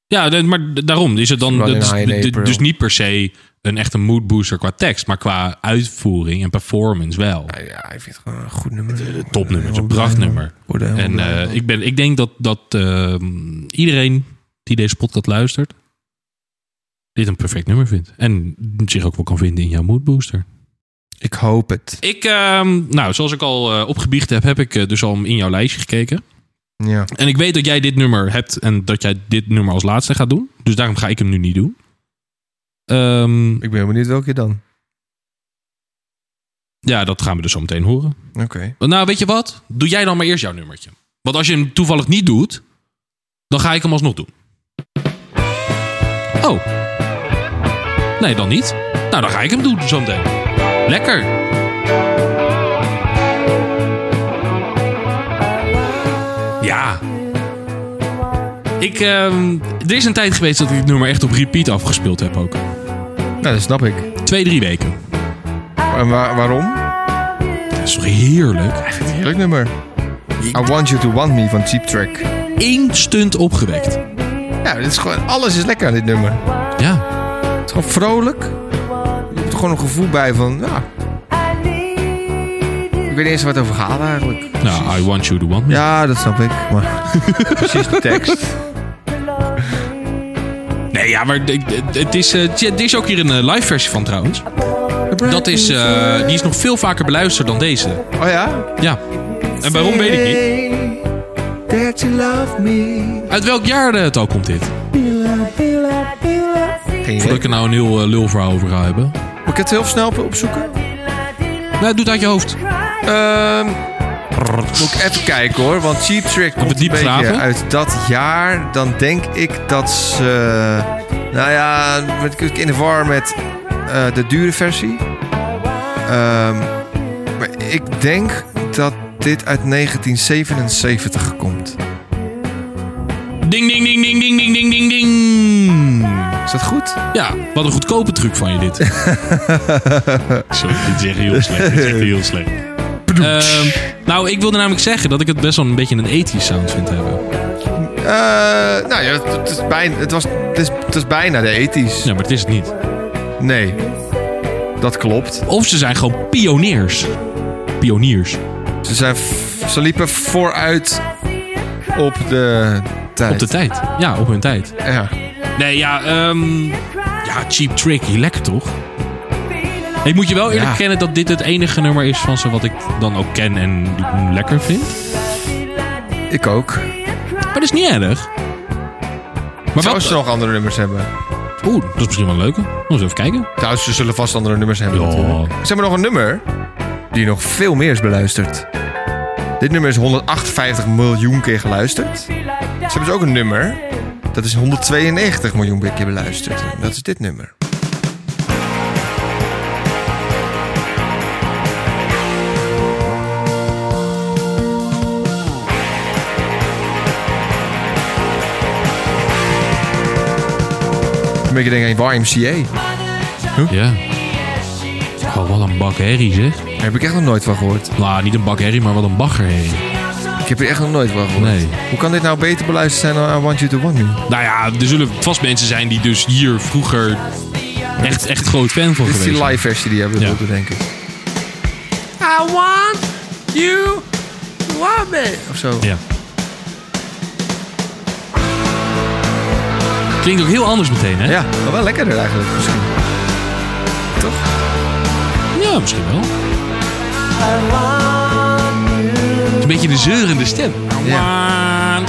Speaker 2: Ja, nee, maar d- daarom is het dan
Speaker 3: Running
Speaker 2: dat is
Speaker 3: High in
Speaker 2: d- d-
Speaker 3: April.
Speaker 2: dus niet per se een echte moodbooster qua tekst, maar qua uitvoering en performance wel.
Speaker 3: Nou ja, ik vind het gewoon een goed nummer.
Speaker 2: Een Topnummer, het is een prachtnummer.
Speaker 3: Worden helemaal
Speaker 2: En
Speaker 3: blij
Speaker 2: eh,
Speaker 3: van.
Speaker 2: ik, ben, ik denk dat, dat ehm, iedereen die deze podcast luistert, dit een perfect nummer vindt. En zich ook wel kan vinden in jouw mood booster.
Speaker 3: ik hoop het.
Speaker 2: Ik, ehm, nou, zoals ik al eh, opgebiecht heb, heb ik eh, dus al in jouw lijstje gekeken.
Speaker 3: Ja.
Speaker 2: En ik weet dat jij dit nummer hebt en dat jij dit nummer als laatste gaat doen. Dus daarom ga ik hem nu niet doen. Ehm,
Speaker 3: Ik ben benieuwd welke dan.
Speaker 2: ja, dat gaan we dus zo meteen horen.
Speaker 3: Oké.
Speaker 2: Nou, weet je wat? Doe jij dan maar eerst jouw nummertje. Want als je hem toevallig niet doet, dan ga ik hem alsnog doen. Oh. Nee, dan niet. Nou, dan ga ik hem doen zometeen. Lekker. Ja. Ik, ehm, er is een tijd geweest dat ik het nummer echt op repeat afgespeeld heb ook.
Speaker 3: Nou, dat snap ik.
Speaker 2: Twee, drie weken.
Speaker 3: En wa- waarom?
Speaker 2: Dat is toch heerlijk?
Speaker 3: Heerlijk nummer. I Want You To Want Me van Cheap Track.
Speaker 2: Instant opgewekt.
Speaker 3: Ja, dit is gewoon, alles is lekker aan dit nummer. Het
Speaker 2: Ja.
Speaker 3: is gewoon vrolijk. Je hebt er gewoon een gevoel bij van, ja. Ik weet niet eens waar het over gaat eigenlijk.
Speaker 2: Nou, I want you to want me.
Speaker 3: Ja, dat snap ik. Maar precies de tekst.
Speaker 2: Nee, ja, maar d- d- het is, eh, tja, er is ook hier een eh, live versie van trouwens. Dat is, eh, die is nog veel vaker beluisterd dan deze.
Speaker 3: Oh ja?
Speaker 2: Ja. En waarom weet ik niet.
Speaker 3: That you love me.
Speaker 2: Uit welk jaar eh, het al komt dit?
Speaker 3: Geen idee.
Speaker 2: Voordat ik er nou een heel eh, lulverhaal over ga hebben.
Speaker 3: Moet ik het heel snel opzoeken?
Speaker 2: Nou, doe het uit je hoofd.
Speaker 3: Ehm, moet ik even kijken hoor, want Cheap Trick komt
Speaker 2: het diep
Speaker 3: een beetje
Speaker 2: graven?
Speaker 3: uit dat jaar. Dan denk ik dat ze... eh, nou ja, ben ik in de war met eh, de dure versie. Ehm, maar ik denk dat dit uit 1977 komt.
Speaker 2: Ding, ding, ding, ding, ding, ding, ding, ding, ding.
Speaker 3: Is dat goed?
Speaker 2: Ja, wat een goedkope truc van je dit. Sorry, dit is echt heel slecht. Dit is echt heel slecht. Ehm, nou, ik wilde namelijk zeggen dat ik het best wel een beetje een 80s sound vind hebben.
Speaker 3: Eh, nou ja, het, het is bijna, het, was, het, is, het is bijna de ethisch.
Speaker 2: Ja, maar het is het niet.
Speaker 3: Nee, dat klopt.
Speaker 2: Of ze zijn gewoon pioniers. Pioniers.
Speaker 3: Ze, zijn, f- ze liepen vooruit op de tijd.
Speaker 2: Op de tijd. Ja, op hun tijd.
Speaker 3: Ja.
Speaker 2: Nee, ja, ehm, ja, Cheap Trick, hier lekker toch? Ik moet je wel eerlijk
Speaker 3: Ja.
Speaker 2: kennen dat dit het enige nummer is van ze wat ik dan ook ken en lekker vind.
Speaker 3: Ik ook.
Speaker 2: Maar dat is niet erg. Maar
Speaker 3: Maar zouden ze nog andere nummers hebben?
Speaker 2: Oeh, dat is misschien wel een leuke. Laten we eens even kijken.
Speaker 3: Trouwens, ze zullen vast andere nummers hebben.
Speaker 2: Ja.
Speaker 3: natuurlijk. Ze hebben nog een nummer die nog veel meer is beluisterd. Dit nummer is 158 miljoen keer geluisterd. Ze hebben dus ook een nummer dat is 192 miljoen keer beluisterd. En Dat is dit nummer. Een beetje denk aan YMCA.
Speaker 2: Ja. Oh, wat een bak herrie, zeg.
Speaker 3: Daar heb ik echt nog nooit van gehoord.
Speaker 2: Nou, niet een bak herrie, maar wat een baggerherrie.
Speaker 3: Ik heb hier echt nog nooit van gehoord.
Speaker 2: Nee.
Speaker 3: Hoe kan dit nou beter beluisterd zijn dan I Want You To Want Me?
Speaker 2: Nou ja, er zullen vast mensen zijn die dus hier vroeger echt, echt groot fan van
Speaker 3: Dit is
Speaker 2: geweest
Speaker 3: die
Speaker 2: zijn.
Speaker 3: live versie die hebben we
Speaker 2: Ja.
Speaker 3: bedoeld, denk ik.
Speaker 9: I want you, want me.
Speaker 3: Of zo.
Speaker 2: Ja. Klinkt ook heel anders meteen, hè?
Speaker 3: Ja, maar wel lekkerder eigenlijk misschien. Toch?
Speaker 2: Ja, misschien wel. Het is een beetje de zeurende stem.
Speaker 3: Ja.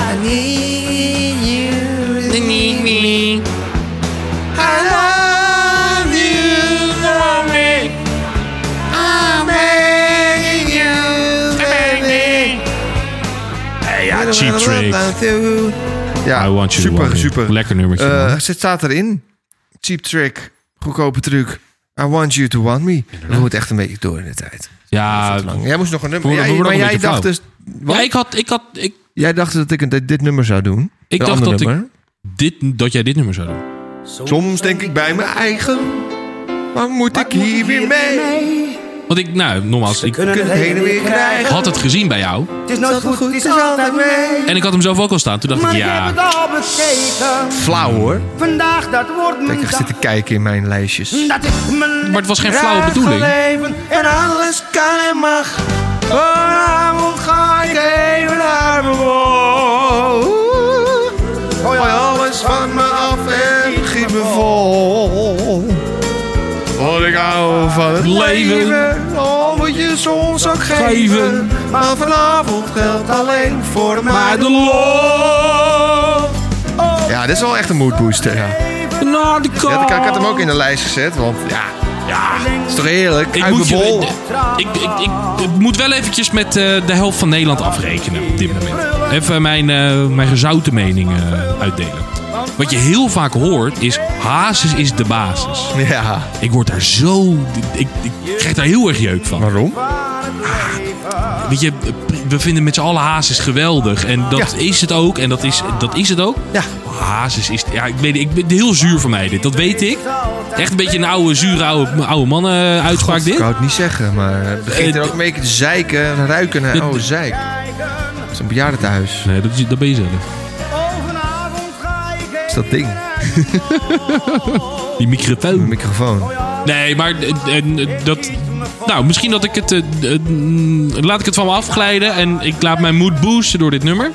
Speaker 2: Ja, Cheap Trick.
Speaker 3: Ja,
Speaker 2: I want you to
Speaker 3: super,
Speaker 2: want me.
Speaker 3: super.
Speaker 2: Lekker nummertje,
Speaker 3: Eh,
Speaker 2: man.
Speaker 3: het staat erin. Cheap trick, goedkope truc. I want you to want me. We moeten echt een beetje door in de tijd.
Speaker 2: Ja,
Speaker 3: Lang. Jij moest nog een nummer.
Speaker 2: We worden-
Speaker 3: Jij,
Speaker 2: we
Speaker 3: maar
Speaker 2: worden
Speaker 3: jij
Speaker 2: een beetje
Speaker 3: dacht dus... wat?
Speaker 2: ja ik had... Ik had ik,
Speaker 3: Jij dacht dat ik een- dit, dit nummer zou doen.
Speaker 2: ik
Speaker 3: Een
Speaker 2: dacht
Speaker 3: ander
Speaker 2: dat, ik
Speaker 3: nummer.
Speaker 2: dit, dat jij dit nummer zou doen.
Speaker 3: Soms denk ik bij mijn eigen... Waar moet ik hier weer mee?
Speaker 2: Want ik, nou, nogmaals, ik
Speaker 3: Kunnen het heen en weer krijgen.
Speaker 2: had het gezien bij jou.
Speaker 7: Het is nooit goed, het is altijd mee.
Speaker 2: En ik had hem zelf ook al staan. Toen dacht
Speaker 7: Maar
Speaker 2: ik,
Speaker 7: ik heb het
Speaker 2: ja,
Speaker 7: al bekeken.
Speaker 3: Flauw hoor.
Speaker 7: Vandaag, dat wordt mijn
Speaker 3: Ik
Speaker 7: dag.
Speaker 3: zit te kijken in mijn lijstjes.
Speaker 7: Dat is mijn
Speaker 2: Maar het was geen flauwe bedoeling.
Speaker 7: leven en alles kan en mag. Vanavond ga ik even naar mijn woon. Gooi alles van me af en giet me vol.
Speaker 3: Want ik hou van het Oh,
Speaker 2: leven.
Speaker 7: Al moet je soms ook
Speaker 2: Geven.
Speaker 7: geven. Maar vanavond geldt alleen voor mij
Speaker 2: maar de
Speaker 7: de
Speaker 2: lol
Speaker 3: Ja, dit is wel echt een moodbooster. Ja.
Speaker 2: naar de
Speaker 3: Ja,
Speaker 2: kant.
Speaker 3: ik, ik had hem ook in de lijst gezet, want ja, ja is toch heerlijk?
Speaker 2: Ik
Speaker 3: Uit
Speaker 2: moet,
Speaker 3: mijn
Speaker 2: je-
Speaker 3: bol.
Speaker 2: ik, ik, ik, ik moet wel eventjes met eh, de helft van Nederland afrekenen op dit moment. Even mijn, eh, mijn gezouten mening eh, uitdelen. Wat je heel vaak hoort is, hazes is de basis.
Speaker 3: Ja,
Speaker 2: Ik word daar zo... Ik, ik krijg daar heel erg jeuk van.
Speaker 3: waarom?
Speaker 2: Weet je, we vinden met z'n allen Hazes geweldig. En dat
Speaker 3: Ja.
Speaker 2: is het ook. En dat is, dat is het ook.
Speaker 3: Ja.
Speaker 2: Hazes is... Ja, ik weet het, ik ben heel zuur van mij dit. Dat weet ik. Echt een beetje een oude, zure oude, oude mannen eh, uitspraak
Speaker 3: Ik
Speaker 2: dit.
Speaker 3: wou het niet zeggen, maar het begint er
Speaker 2: Eh,
Speaker 3: ook een beetje te zeiken en ruiken naar, oh, zeik. Het is een bejaardentehuis.
Speaker 2: Nee, dat, is- dat ben je zelf.
Speaker 3: Dat is dat ding,
Speaker 2: Die
Speaker 3: mijn
Speaker 2: microfoon.
Speaker 3: microfoon.
Speaker 2: Nee, maar eh, eh, dat... Nou, misschien dat ik het... eh, eh, laat ik het van me afglijden. En ik laat mijn moed boosten door dit nummer.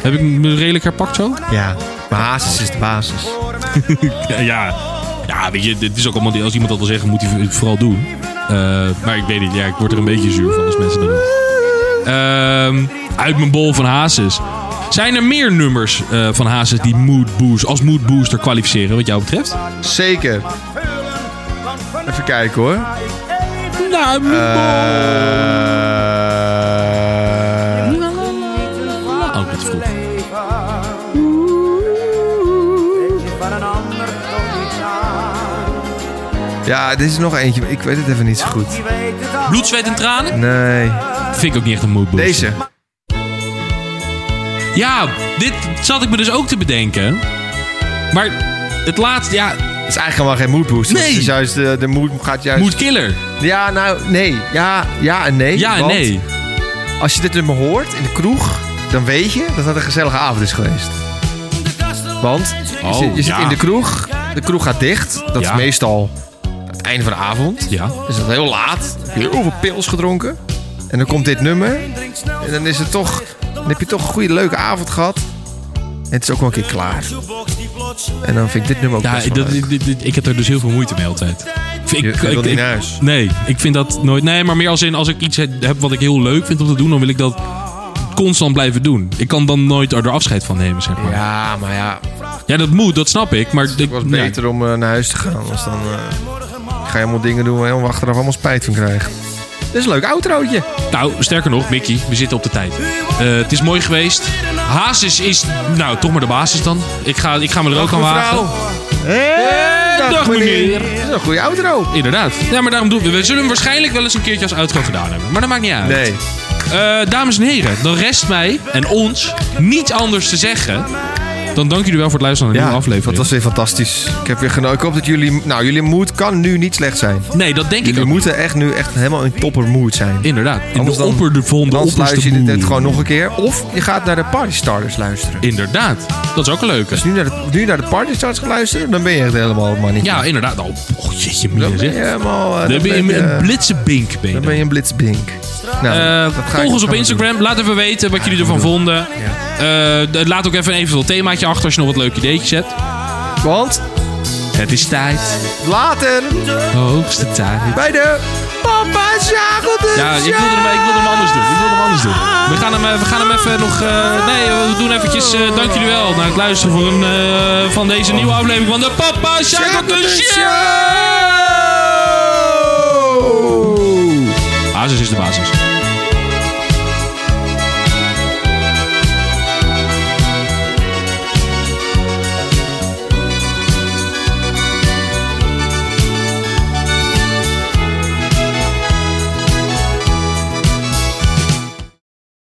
Speaker 2: Heb ik me redelijk herpakt zo?
Speaker 3: Ja, maar Hazes is de basis.
Speaker 2: Ja, ja. Ja, weet je, dit is ook allemaal... die- Als iemand dat wil zeggen, moet hij het vooral doen. Eh, maar ik weet niet, ja, ik word er een beetje zuur van als mensen dat doen. Ehm, uit mijn bol van Hazes. Zijn er meer nummers eh, van Hazes die mood boost, als mood booster kwalificeren, wat jou betreft?
Speaker 3: Zeker. Even kijken hoor.
Speaker 2: Nou,
Speaker 3: Eh,
Speaker 2: Oh, dat is goed.
Speaker 3: ja, dit is nog eentje, maar ik weet het even niet zo goed.
Speaker 2: Bloed, zweet en tranen?
Speaker 3: Nee,
Speaker 2: Vind ik ook niet echt een mood booster.
Speaker 3: deze.
Speaker 2: Ja, dit zat ik me dus ook te bedenken. Maar het laatste, ja,
Speaker 3: Het is eigenlijk helemaal geen moodbooster.
Speaker 2: Nee.
Speaker 3: Het is juist, eh, de, de mood gaat juist...
Speaker 2: mood killer.
Speaker 3: Ja, nou, nee. Ja, ja en nee.
Speaker 2: Ja, en
Speaker 3: Want
Speaker 2: nee.
Speaker 3: Als je dit nummer hoort in de kroeg, dan weet je dat dat een gezellige avond is geweest. Want je,
Speaker 2: Oh,
Speaker 3: zit, je zit
Speaker 2: ja.
Speaker 3: in de kroeg, de kroeg gaat dicht. Dat
Speaker 2: Ja.
Speaker 3: is meestal het einde van de avond.
Speaker 2: Ja.
Speaker 3: Dus dat is heel laat. Heel veel pils gedronken. En dan komt dit nummer. En dan, is het toch, dan heb je toch een goede, leuke avond gehad. En het is ook wel een keer klaar. En dan vind ik dit nummer ook
Speaker 2: Ja,
Speaker 3: best wel
Speaker 2: dat, dit-
Speaker 3: leuk.
Speaker 2: dit- dit- ik heb er dus heel veel moeite mee altijd. Ik,
Speaker 3: Je- je wilt niet naar huis.
Speaker 2: Nee, ik vind dat nooit. Nee, maar meer als in als ik iets heb wat ik heel leuk vind om te doen, dan wil ik dat constant blijven doen. Ik kan dan nooit er afscheid van nemen, zeg maar.
Speaker 3: Ja, maar ja.
Speaker 2: Ja, dat moet, dat snap ik. Maar ik,
Speaker 3: Het was beter om eh, naar huis te gaan. Anders dan eh, ga je allemaal dingen doen waar je helemaal achteraf allemaal spijt van krijgt. Dit is een leuk outrootje.
Speaker 2: Nou, sterker nog, Mickey, we zitten op de tijd. Eh, het is mooi geweest. Hazes is, nou, toch maar de basis dan. Ik ga, ik ga me er ook aan wagen.
Speaker 3: Dag,
Speaker 2: dag, meneer.
Speaker 3: Dat is een goede outro.
Speaker 2: Inderdaad. Ja, maar daarom doen we. We zullen hem waarschijnlijk wel eens een keertje als outro gedaan hebben. Maar dat maakt niet uit.
Speaker 3: Nee.
Speaker 2: Eh, dames en heren, dan rest mij en ons niet anders te zeggen. Dan dank jullie wel voor het luisteren naar een nieuwe
Speaker 3: dat
Speaker 2: aflevering.
Speaker 3: was weer fantastisch. Ik heb weer genoten. Ik hoop dat jullie... Nou, jullie moed kan nu niet slecht zijn.
Speaker 2: Nee, dat denk ik
Speaker 3: Jullie
Speaker 2: ook.
Speaker 3: moeten echt nu echt helemaal in topper mood zijn.
Speaker 2: Inderdaad. In
Speaker 3: Anders
Speaker 2: de
Speaker 3: dan-
Speaker 2: opper de volgende
Speaker 3: Dan
Speaker 2: opperste
Speaker 3: sluit je dit
Speaker 2: boer.
Speaker 3: net gewoon nog een keer. Of je gaat naar de Party Starters luisteren.
Speaker 2: Inderdaad. Dat is ook een leuke.
Speaker 3: Dus nu naar de, nu naar de Party Starters gaan luisteren, dan ben je echt helemaal het mannetje.
Speaker 2: Ja, inderdaad. Oh, oh jeetje,
Speaker 3: dan
Speaker 2: meer
Speaker 3: ben je
Speaker 2: zeg.
Speaker 3: helemaal... eh,
Speaker 2: Dan ben je een blitzenbink. Ben je
Speaker 3: dan
Speaker 2: dan.
Speaker 3: ben je een blitzbink. Nou,
Speaker 2: Eh,
Speaker 3: dat ga ik-
Speaker 2: volg ons
Speaker 3: gaan
Speaker 2: op
Speaker 3: we
Speaker 2: Instagram. Laat even weten wat jullie ervan vonden. Eh, d- laat ook even een eventueel themaatje achter als je nog wat leuke ideetjes hebt.
Speaker 3: doen. Want
Speaker 2: Het is tijd.
Speaker 3: later
Speaker 2: Hoogste tijd.
Speaker 3: bij de Papa Zageldus
Speaker 2: Ja, ik wilde, hem, ik wilde hem anders doen. Ik wilde hem anders doen. We gaan hem, eh, we gaan hem even nog... eh, nee, we doen eventjes... eh, dank jullie wel naar het luisteren voor een, eh, van deze nieuwe aflevering van de Papa Shackleton Show. Basis is de basis.